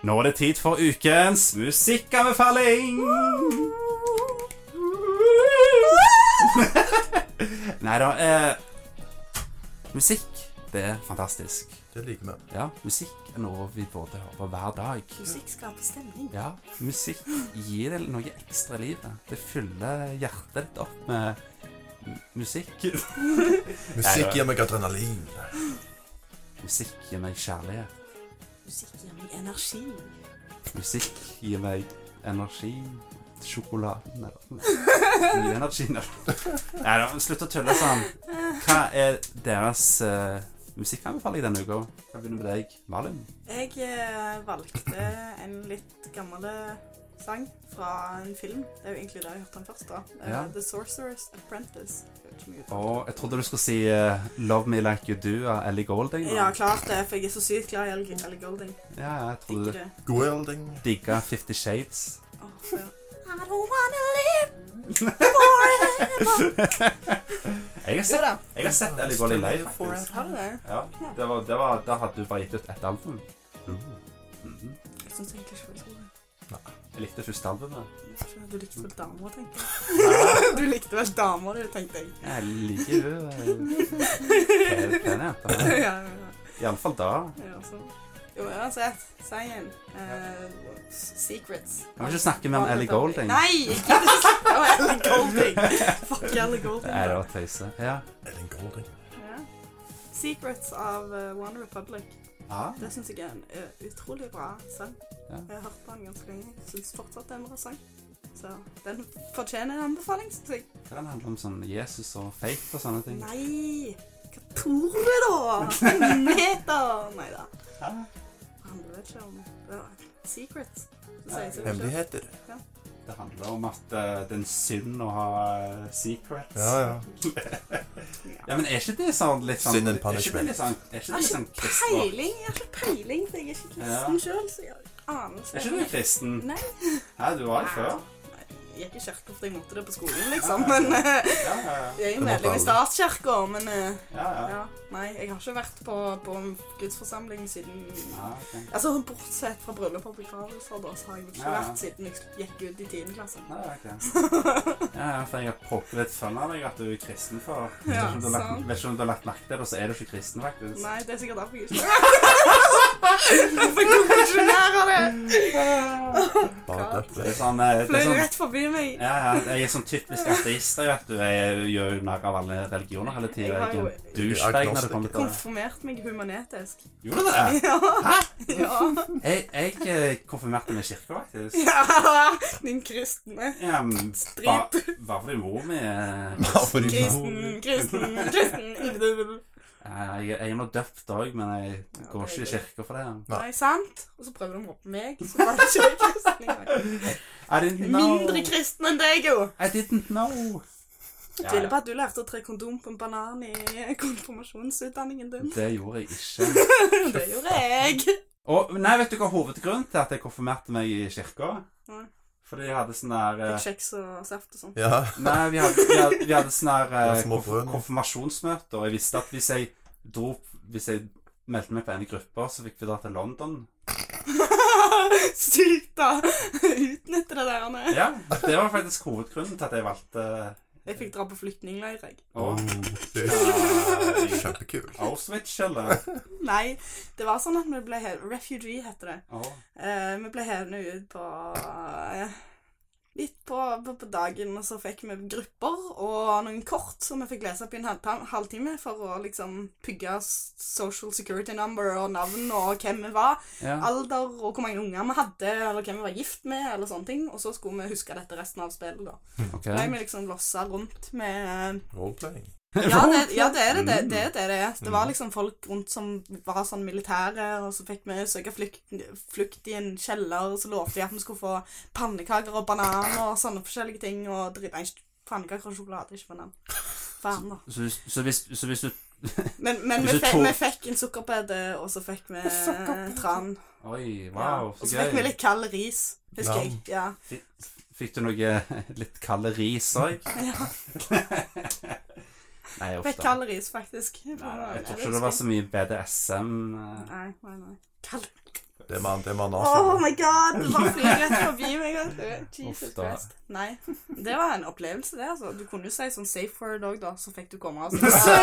Nå er det tid for ukens musikkanbefaling! <laughs> Nei da eh, Musikk, det er fantastisk. Det liker vi. Ja, musikk er noe vi både hører på hver dag. Musikk skaper stemning. Ja, musikk gir deg noe ekstra i livet. Det fyller hjertet ditt opp med m- musikk. Musikk gir meg adrenalin. Musikk gir meg kjærlighet. Musikk gir meg energi. Musikk gir meg energi. Sjokolade Nei da. Mye energi. Nei da, slutt å tulle sånn. Hva er deres uh, musikkanbefaling denne uka? Skal begynne med deg, Malin. Jeg eh, valgte en litt gammel eh, sang fra en film. Det er jo egentlig der jeg hørte den først. da. Eh, Ja. The Sorcerer's Apprentice. Jeg vet ikke om jeg uttaler Og jeg trodde du skulle si eh, 'Love Me Like You Do' av Ellie Golding. det. da. Ja, klart det, for jeg er så sykt glad i Elgin eller Golding. ja, jeg trodde Digger du det. Goelding. digga 'Fifty Shades'. Åh, ja. I don't wanna live Jeg har Jo sett, da. jeg har sett Ellie Golly live, faktisk. Har du det? Ja, det var, det var, da hadde du bare gitt ut ett album. Mhm. Jeg syns egentlig ikke jeg så det. Jeg likte første albumet. Jeg synes ikke- Du likte vel damer, tenkte Nei, jeg. <laughs> Du likte vel damer, du, tenkte jeg. Jeg liker jo Mm. eh, pene <laughs> ja, jenter. ja, ja. Iallfall da. Jeg også. Jo, uansett. Sangen. Eh, secrets. Kan vi ikke snakke mer om Ellie Goulding? Nei! Ikke <laughs> det du snakker om Ellie Golding! Fuck Ellie Golding. Nei, det var tøyse. Ja. Er det en golding? Ja. Secrets av eh, One Republic. Ja. Det syns jeg er en eh, utrolig bra sang. Ja. Jeg har hørt på den ganske lenge. Syns fortsatt det er en bra sang. Så den fortjener en anbefaling. synes jeg. Hva den handler om sånn Jesus og fate og sånne ting? Nei! Hva tror du, da? En meter! Nei da. Hæ? Det handler vel ikke om det var Secrets. Det sier seg jo selv. <laughs> Hemmeligheter. Det handler om at eh, det er en synd å ha eh, secrets. Ja, ja. Ja, men er ikke det sånn litt sånn Sin and Er ikke det litt sånn, er ikke Jeg det har sånn ikke kristen? peiling. Jeg har ikke peiling, for jeg er ikke kristen Ja. selv, så jeg har ikke anelse. Er ikke du kristen? Nei. Hæ, du var det før? Nei, Jeg gikk i kirka fordi jeg måtte det på skolen, liksom. Men eh, Ja, ja, ja. jeg er Det jo måtte medlem i alle. statskirka, men eh, ja, ja. ja. Nei, jeg har ikke vært på, på en gudsforsamling siden Ja, ok. Altså, bortsett fra bryllup og begravelser, da, så har jeg Ja, ikke ja. vært siden jeg gikk ut i 10. klasse. Ja, ok. <laughs> Ja, ja, for jeg har poppet litt sønn av deg at du er kristen for. Vet Ja, ikke om du har lagt- sant. vet ikke om du har lagt merke til det, så er du ikke kristen, faktisk. Nei, det er sikkert derfor jeg ikke Jeg får konfesjonere det! Bare Så det er døpt. sånn, eh, Mm, det Fløy er sånn rett forbi meg. ja, ja, jeg er sånn typisk ateister, vet du. Jeg gjør jo narr av alle religioner hele tiden. Jeg har Jeg er jo- en douchebag når det kommer til det. Konfirmert meg humanetisk. Gjorde du <laughs> det? Ja. Ja. Jeg, jeg eh, konfirmerte meg i kirka, faktisk. <laughs> ja. Din kristne. Ja, men Strip. ba- Bare fordi mor mi eh, Bare fordi man- Kristen, kristen, kristen. Eh, Jeg, jeg er nå døpt òg, men jeg går det er ikke i kirka for det. Nei. Nei, sant? Og så prøver de å mobbe meg, så var det ikke jeg kristen engang. I didn't know. Mindre kristen enn deg, jo! I didn't know. Ja, Tviler på at du lærte å tre kondom på en banan i <laughs> konfirmasjonsutdanningen <laughs> din. det gjorde jeg ikke. Det gjorde jeg. <laughs> Og, nei, vet du hva hovedgrunnen til at jeg konfirmerte meg i kirka? Nei. Fordi jeg hadde sånn der eh, Fikk kjeks og saft og sånn. <laughs> Ja. Nei, vi hadde, vi hadde, vi hadde sånn der eh, Ja, små konf- brødre. konfirmasjonsmøte, og jeg visste at hvis jeg dro Hvis jeg meldte meg på en gruppe, så fikk vi dra til London. Sykt, da. Utnytte det der. Anne. Ja, det var faktisk hovedgrunnen til at jeg valgte Jeg fikk dra på flyktningleir, jeg. å Oh, det er Ja, i kjempekult. <laughs> Auschwitz, eller? Nei, det var sånn at vi ble hevet Refugee heter det. Å. Eh, vi ble hevnet ut på eh, Litt på, på, på dagen, og så fikk vi grupper og noen kort som vi fikk lese opp i en halv, halvtime for å liksom pugge s- social security number og navn og hvem vi var, Ja. alder og hvor mange unger vi hadde, eller hvem vi var gift med, eller sånne ting. Og så skulle vi huske dette resten av spillet, da. Ok. Ble vi liksom lossa rundt med Roleplaying. ja, det, ja, det er det. Det, Mm. det er det det er. Det var liksom folk rundt som var sånn militære, og så fikk vi søke flukt, flukt i en kjeller, og så lovte de at vi skulle få pannekaker og bananer og sånne forskjellige ting, og drit... Nei, ikke pannekaker og sjokolade, ikke banan. Faen, da. Så, hvis- så, hvis, så hvis du Men, men vi, Hvis du fikk, tok- vi fikk en sukkerbede, og så fikk vi tran. Oi, Ja. wow, Og så så fikk vi gøy. litt kald ris, husker jeg. Lam. Ja. Fikk du noe <laughs> litt kalde ris òg? ja. <laughs> Nei, uff Fikk da. kald ris, faktisk. Nei, Jeg tror ikke det var så mye BDSM. eh. Nei, nei, nei. Kald Det er man, det er man Oh nazi. my god! Det bare flyr rett <laughs> forbi meg. vet du. Jesus Uff da. Christ. Nei. Det var en opplevelse, det. altså. Du kunne jo si sånn safe word òg, da. Så fikk du komme og sitte Ja, ja,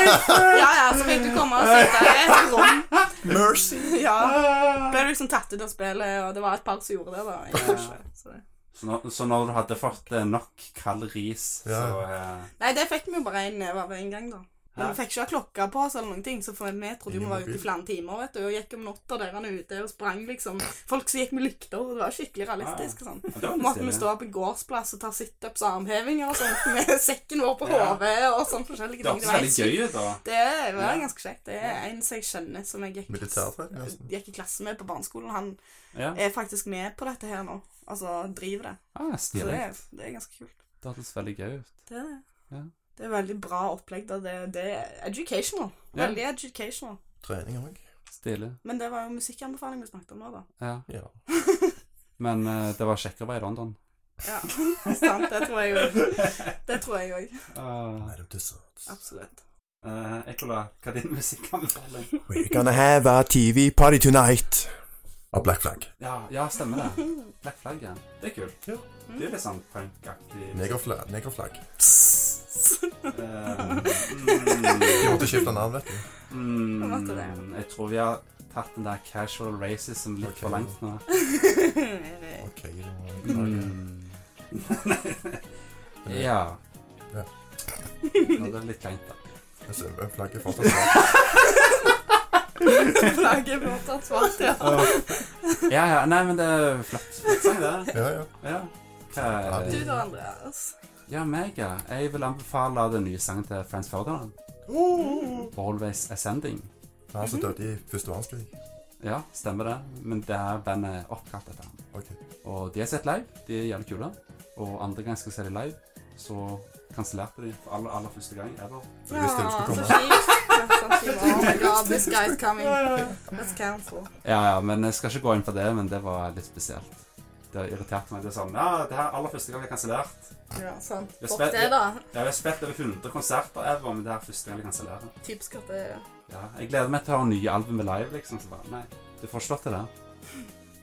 så fikk du komme og sitte i et rom. Mercy! Ja. Ble du liksom tatt ut av spillet, og det var et par som gjorde det, da. Jeg vet ikke, så det- Så, når, så når du hadde fått eh, nok kald ris, Ja. så eh, Nei, det fikk vi jo bare en neve av en gang, da. Men vi fikk ikke ha klokka på oss, eller noen ting, så for vi trodde jo vi var ute i flere timer. vet du, Og gikk om natta der han er ute og sprang, liksom. Folk som gikk med lykter. og Det var skikkelig realistisk. og sånn. ja, det var litt Måtte vi stilig. stå på en gårdsplass og ta situps og armhevinger og sånt med <laughs> sekken vår på Ja. hodet og sånn forskjellige Det ting. hørtes veldig gøy ut, da. Det var Ja. ganske kjekt. Det er en som jeg kjenner som jeg gikk, Militærtrening, nesten. gikk i klasse med på barneskolen. Han Ja. er faktisk med på dette her nå. Altså driver det. Ah, Så det Stilig. er, det er ganske kult. Det hørtes veldig gøy ut. Det er det. Ja. Det er veldig bra opplegg. da. Det, det er educational. Ja. Veldig educational. Trening òg. Stilig. Men det var <laughs> jo musikkanbefaling vi snakket om nå, da. Ja. Ja. Men eh, det var kjekkere å være i London. Ja, <laughs> sant. Det tror jeg <laughs> òg. Det tror jeg òg. Uh, Madam Tussauds. Absolutt. Ekola, eh, hva er din musikkanbefaling? We're gonna have a TV party tonight. Av Black Flag. Ja, ja, stemmer det. Black Flag, ja. Det er kult. Ja. Mm. Det er litt sånn punkaktig. Negerflag. Negerflag. <laughs> Vi Eh, måtte skifte navn, vet du. mm, Hva måtte det? mm, jeg tror vi har tatt den der casual racism litt Ok. for langt nå. Ok, da må jeg beklage. Mm. <laughs> ja. Nå Ja. er det litt kleint, da. Jeg ser hvem flagget fortsatt <laughs> er. Flagget er fortsatt svart, ja. Ja, ja. Nei, men det er flott. Flott sang, det. Ja, ja. Ja. Hva Du er da, Andreas. Ja, meg, ja. Jeg vil anbefale den nye sangen til Frans Ferdinand. Always Ascending. Det er Han som døde i første verdenskrig. Ja, stemmer det. Men det her bandet er oppkalt etter ham. Ok. Og de har sett live. De er jævlig kule. Og andre gang jeg skal se dem live, så kansellerte de for aller, aller første gang ever. Så jeg visste det skulle komme. kjipt. Oh my god, this guy's coming. Let's cancel. Ja, ja, men jeg skal ikke gå inn på det, men det var litt spesielt. Det irriterte meg. Det er sånn Ja, det her er aller første gang jeg er kansellert. Ja, sant. Jeg Fuck spe- det, da. Jeg har spilt over 100 konserter ever, men det her er første gang jeg kansellerer. Typisk at det Ja, jeg gleder meg til å høre nye album live, liksom. Så bare Nei, du får ikke lov til det.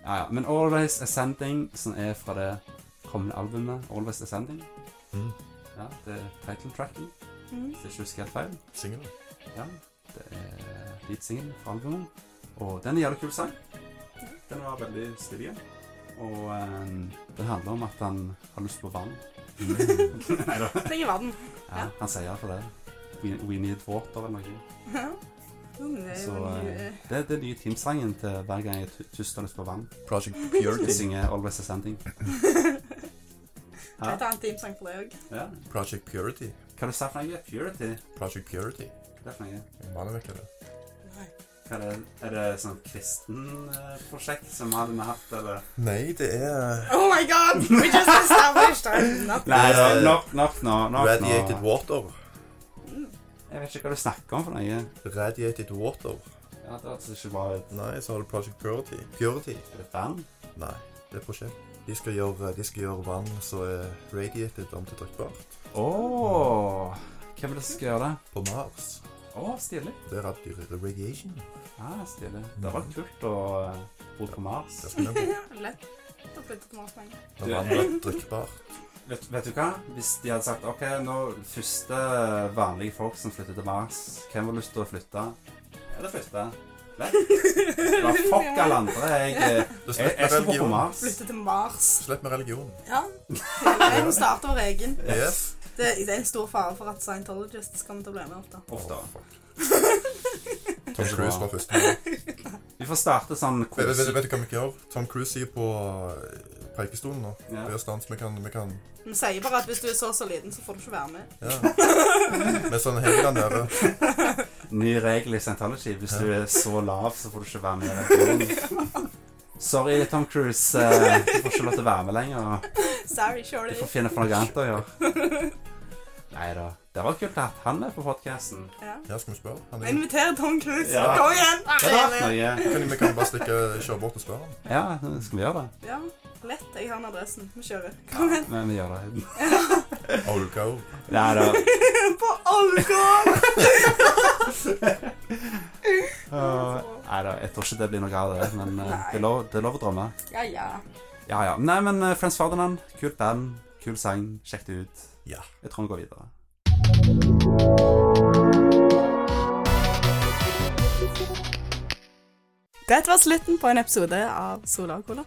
Ja, ja. Men Always Ascending, som er fra det kommende albumet Always Ascending Mm. Ja, det er title tracken, Mm. hvis jeg ikke husker helt feil. Singelen. Ja, det er leadsingen fra albumet. Og den er en jævlig kul sang. Den var veldig stilig. Og eh, den handler om at han har lyst på <laughs> vann. Nei da. Trenger verden. Ja, han sier iallfall det. We, we need water eller noe. Så <laughs> eh, det er den nye teamsangen til hver gang jeg tu- tuster lyst på vann. Project Jeg Purity. synger Always Ascending. Kan jeg ta en teamsang for det òg? Ja. Project Purity. Hva du sa for noe? Purity? Project Purity. Hva er det for noe? Manevekker det. Hva er, det, er det sånn kristenprosjekt som vi hadde hatt, eller? Nei, det er eh, Oh my <laughs> god! We just established I'm not Nei, Det er- nok, nok nå. Nok, Radiated nå. Water. Jeg vet ikke hva du snakker om for noe. Radiated Water. Ja, det hørtes ikke bra ut. Nei, så har du Project Purity. Purity. Er det vann? Nei, det er prosjekt. De skal gjøre, de skal gjøre vann som er radiated om til drikkbart. Åh, hvem vil det som skal gjøre det? På Mars. Åh, stilig. Der er det dyre radiation. Ja, stilig. Det var kult å eh, bo på Mars. Der skal den Lett å flytte til Mars med en gang. Når vannet er drikkbart. Vet, vet du hva? Hvis de hadde sagt, ok, nå første vanlige folk som flytter til Mars, hvem har lyst til å flytte? Ja, det flytter jeg. Lett. Ja, fuck alle andre. Jeg, eh, Du jeg, jeg slipper skal bo på religion. Mars. Flytte til Mars. Slipp med religion. Ja. Jeg må starte vår egen. Yes. Det, det er en stor fare for at scientologists kommer til å bli med ofte. Ofte. Åh, fuck. Tom Cruise var første. Vet, Vi får starte sånn vet, vet, kose. vet du hva vi gjør? Tom Cruise er på eh, preikestolen nå. Ja. Vi er stans, vi kan, vi kan Vi sier bare at hvis du er så og så liten, så får du ikke være med. ja. Med sånn helgeland nede. Ny regel i Scientology. Hvis du er så lav, så får du ikke være med i religionen. Sorry, Tom Cruise. eh, Du får ikke lov til å være med lenger. Sorry, Du shorty. får finne på noe annet å gjøre. Nei da. Det var kult at han er på podkasten. Ja. Ja, skal vi spørre? Han Vi er, inviterer Tom Cruise. Ja. Kom igjen! Det hadde vært noe. kan, vi kan bare stikke, kjøre bort og spørre ham. Ja, skal vi gjøre det? Ja, lett. Jeg har en adressen. Vi kjører. Kom igjen. Men vi gjør det. Old go. Nei da. <laughs> På alkohol! Nei da, jeg tror ikke det blir noe av det, men eh, Nei. det, er lov, det er lov å drømme. Ja, ja. Ja ja. Nei, men uh, Frans Ferdinand, kult band, kul sang, sjekk det ut. Ja. Jeg tror vi går videre. Dette var slutten på en episode av Sola og Cola.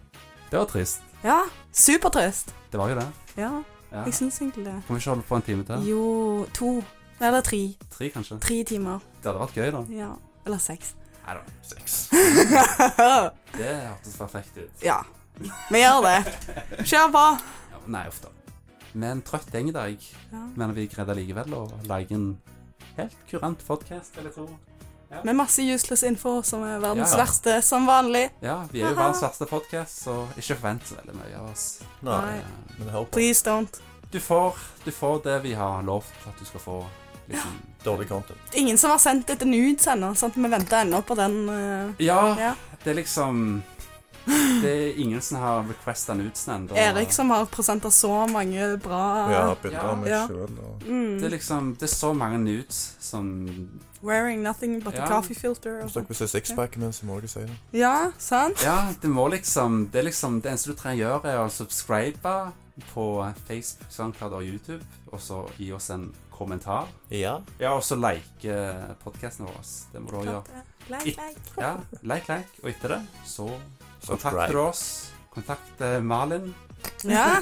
Det var trist. Ja, supertrøst. Det var jo det. Ja, Ja. jeg syns egentlig det. Kan vi ikke holde på en time til? Jo, to. Nei, Eller tre. Tre, kanskje? Tre timer. Det hadde vært gøy, da. Ja. Eller seks. <laughs> Nei da. Sex. Det hørtes perfekt ut. Ja. Vi gjør det. Kjør på. Ja, men nei, uff da. Med en trøtt gjeng i dag, Ja. men vi greide likevel å lage en helt kurant podkast, vil jeg tro. Med masse useless info som er verdens Ja. verste, som vanlig. Ja, vi er jo verdens verste podkast, så ikke forvent så veldig mye av oss. Nei. Eh, Men hør på. Please don't. Du får, du får det vi har lovt at du skal få. Liksom. Dårlig content. Ingen som har sendt etter nudes ennå. sant? Vi venter ennå på den. eh, Ja, ja. det er liksom Det er ingen som har requesta nudesen ennå. Erik som har presentert så mange bra Ja, bilder av meg Ja. selv og mm, Det er liksom Det er så mange nudes som Wearing nothing but Ja. a coffee filter. Hvis Og sånn. dere vil se sixpacken min, så må dere si det. ja, sant? Ja, det må liksom Det er liksom Det eneste du trenger å gjøre, er å subscribe på Facebook, SoundCloud og YouTube, og så gi oss en kommentar. Ja. Ja, og så like podkasten vår. Det må du også gjøre. Like, like. Ja, like, like, og etter det så Subscribe. kontakter du oss. Kontakt eh, Malin, Ja,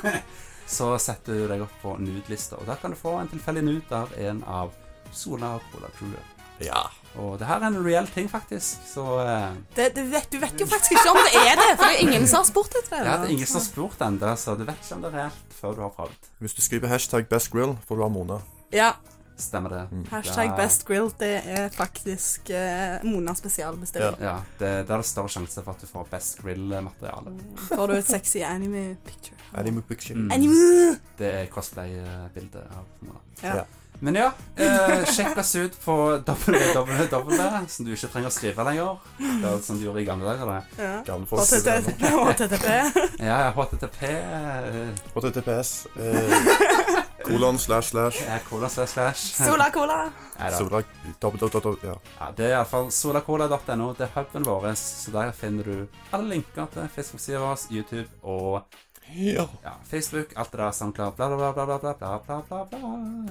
så setter du deg opp på nudelista. Og der kan du få en tilfeldig nude av en av Sola og Cola Crewet. Ja. Og det her er en reell ting, faktisk. Så eh, det, du, vet, du vet jo faktisk ikke om det er det, for det er ingen som har spurt det etter det. er ingen som har spurt ennå, så du vet ikke om det er reelt før du har prøvd. Hvis du skriver hashtag best grill, får du ha Mona. Ja, Stemmer det. hashtag Ja. best grill, det er faktisk eh, Mona spesialbestilling. Ja, det, der er det større sjanse for at du får best grill-materiale. Får du et sexy anime picture. Anime picture. Mm. Anime! Det er cosplay-bildet av Mona. Ja. Ja. Men ja, eh, sjekk oss ut på www, som du ikke trenger å skrive lenger. Det er som du gjorde i gamle dager. det. Ja. Gamle folk skriver det nå. HTTP. Ja, ja, HTTP eh, HTTPS. Eh, kolon slash slash. er eh, cola slash slash. Sola Cola. Nei da. Sola dobbelt dobbelt dobbelt Ja. Ja, det er iallfall solacola.no. Det er huben vår, så der finner du alle linker til Facebook-sida vår, YouTube og ja. ja, Facebook, alt det der, SoundCloud, bla, bla, bla, bla, bla, bla, bla, bla, bla.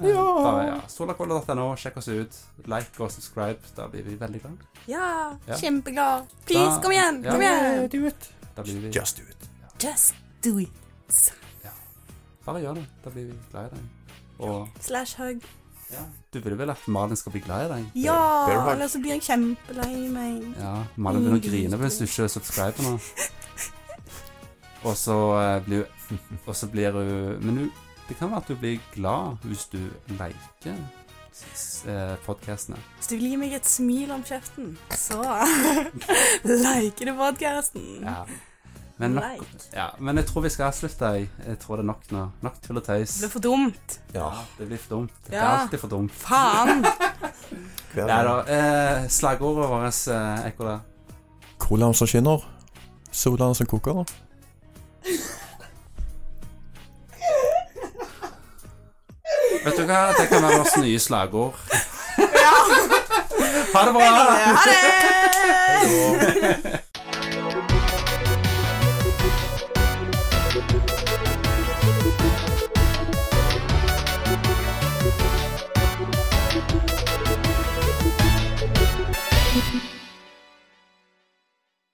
Bare, ja. Solacola.no, sjekk oss ut. Like og subscribe. Da blir vi veldig glad. Ja, Ja. kjempeglad. Please, Da- kom igjen, ja. kom igjen. Da blir vi Just do it. Just do it. Bare gjør det. Da blir vi glad i deg. Og Slash hug. ja, du vil vel at Malin skal bli glad i deg? Ja, Bear hug. eller så blir jeg kjempelei meg. Ja, Malin begynner å grine hvis du ikke subscriber nå. Og så eh, blir hun Og så blir hun Men hun, det kan være at du blir glad hvis du liker eh, podcastene. Hvis du vil gi meg et smil om kjeften, så <laughs> liker du podkasten. Ja. Men nok like. Ja, men jeg tror vi skal avslutte. Jeg, jeg tror det er nok nå. Nok tull og tøys. Det blir for dumt. Ja. Det blir for dumt. Det er Ja. alltid for dumt. Faen. Hver Nei da. Eh, slagordet vårt, eh, Ekkola. Kolon som skinner. Sola som koker. Vet du hva? Det kan være vårt nye slagord. <laughs> ha det bra! Ha det!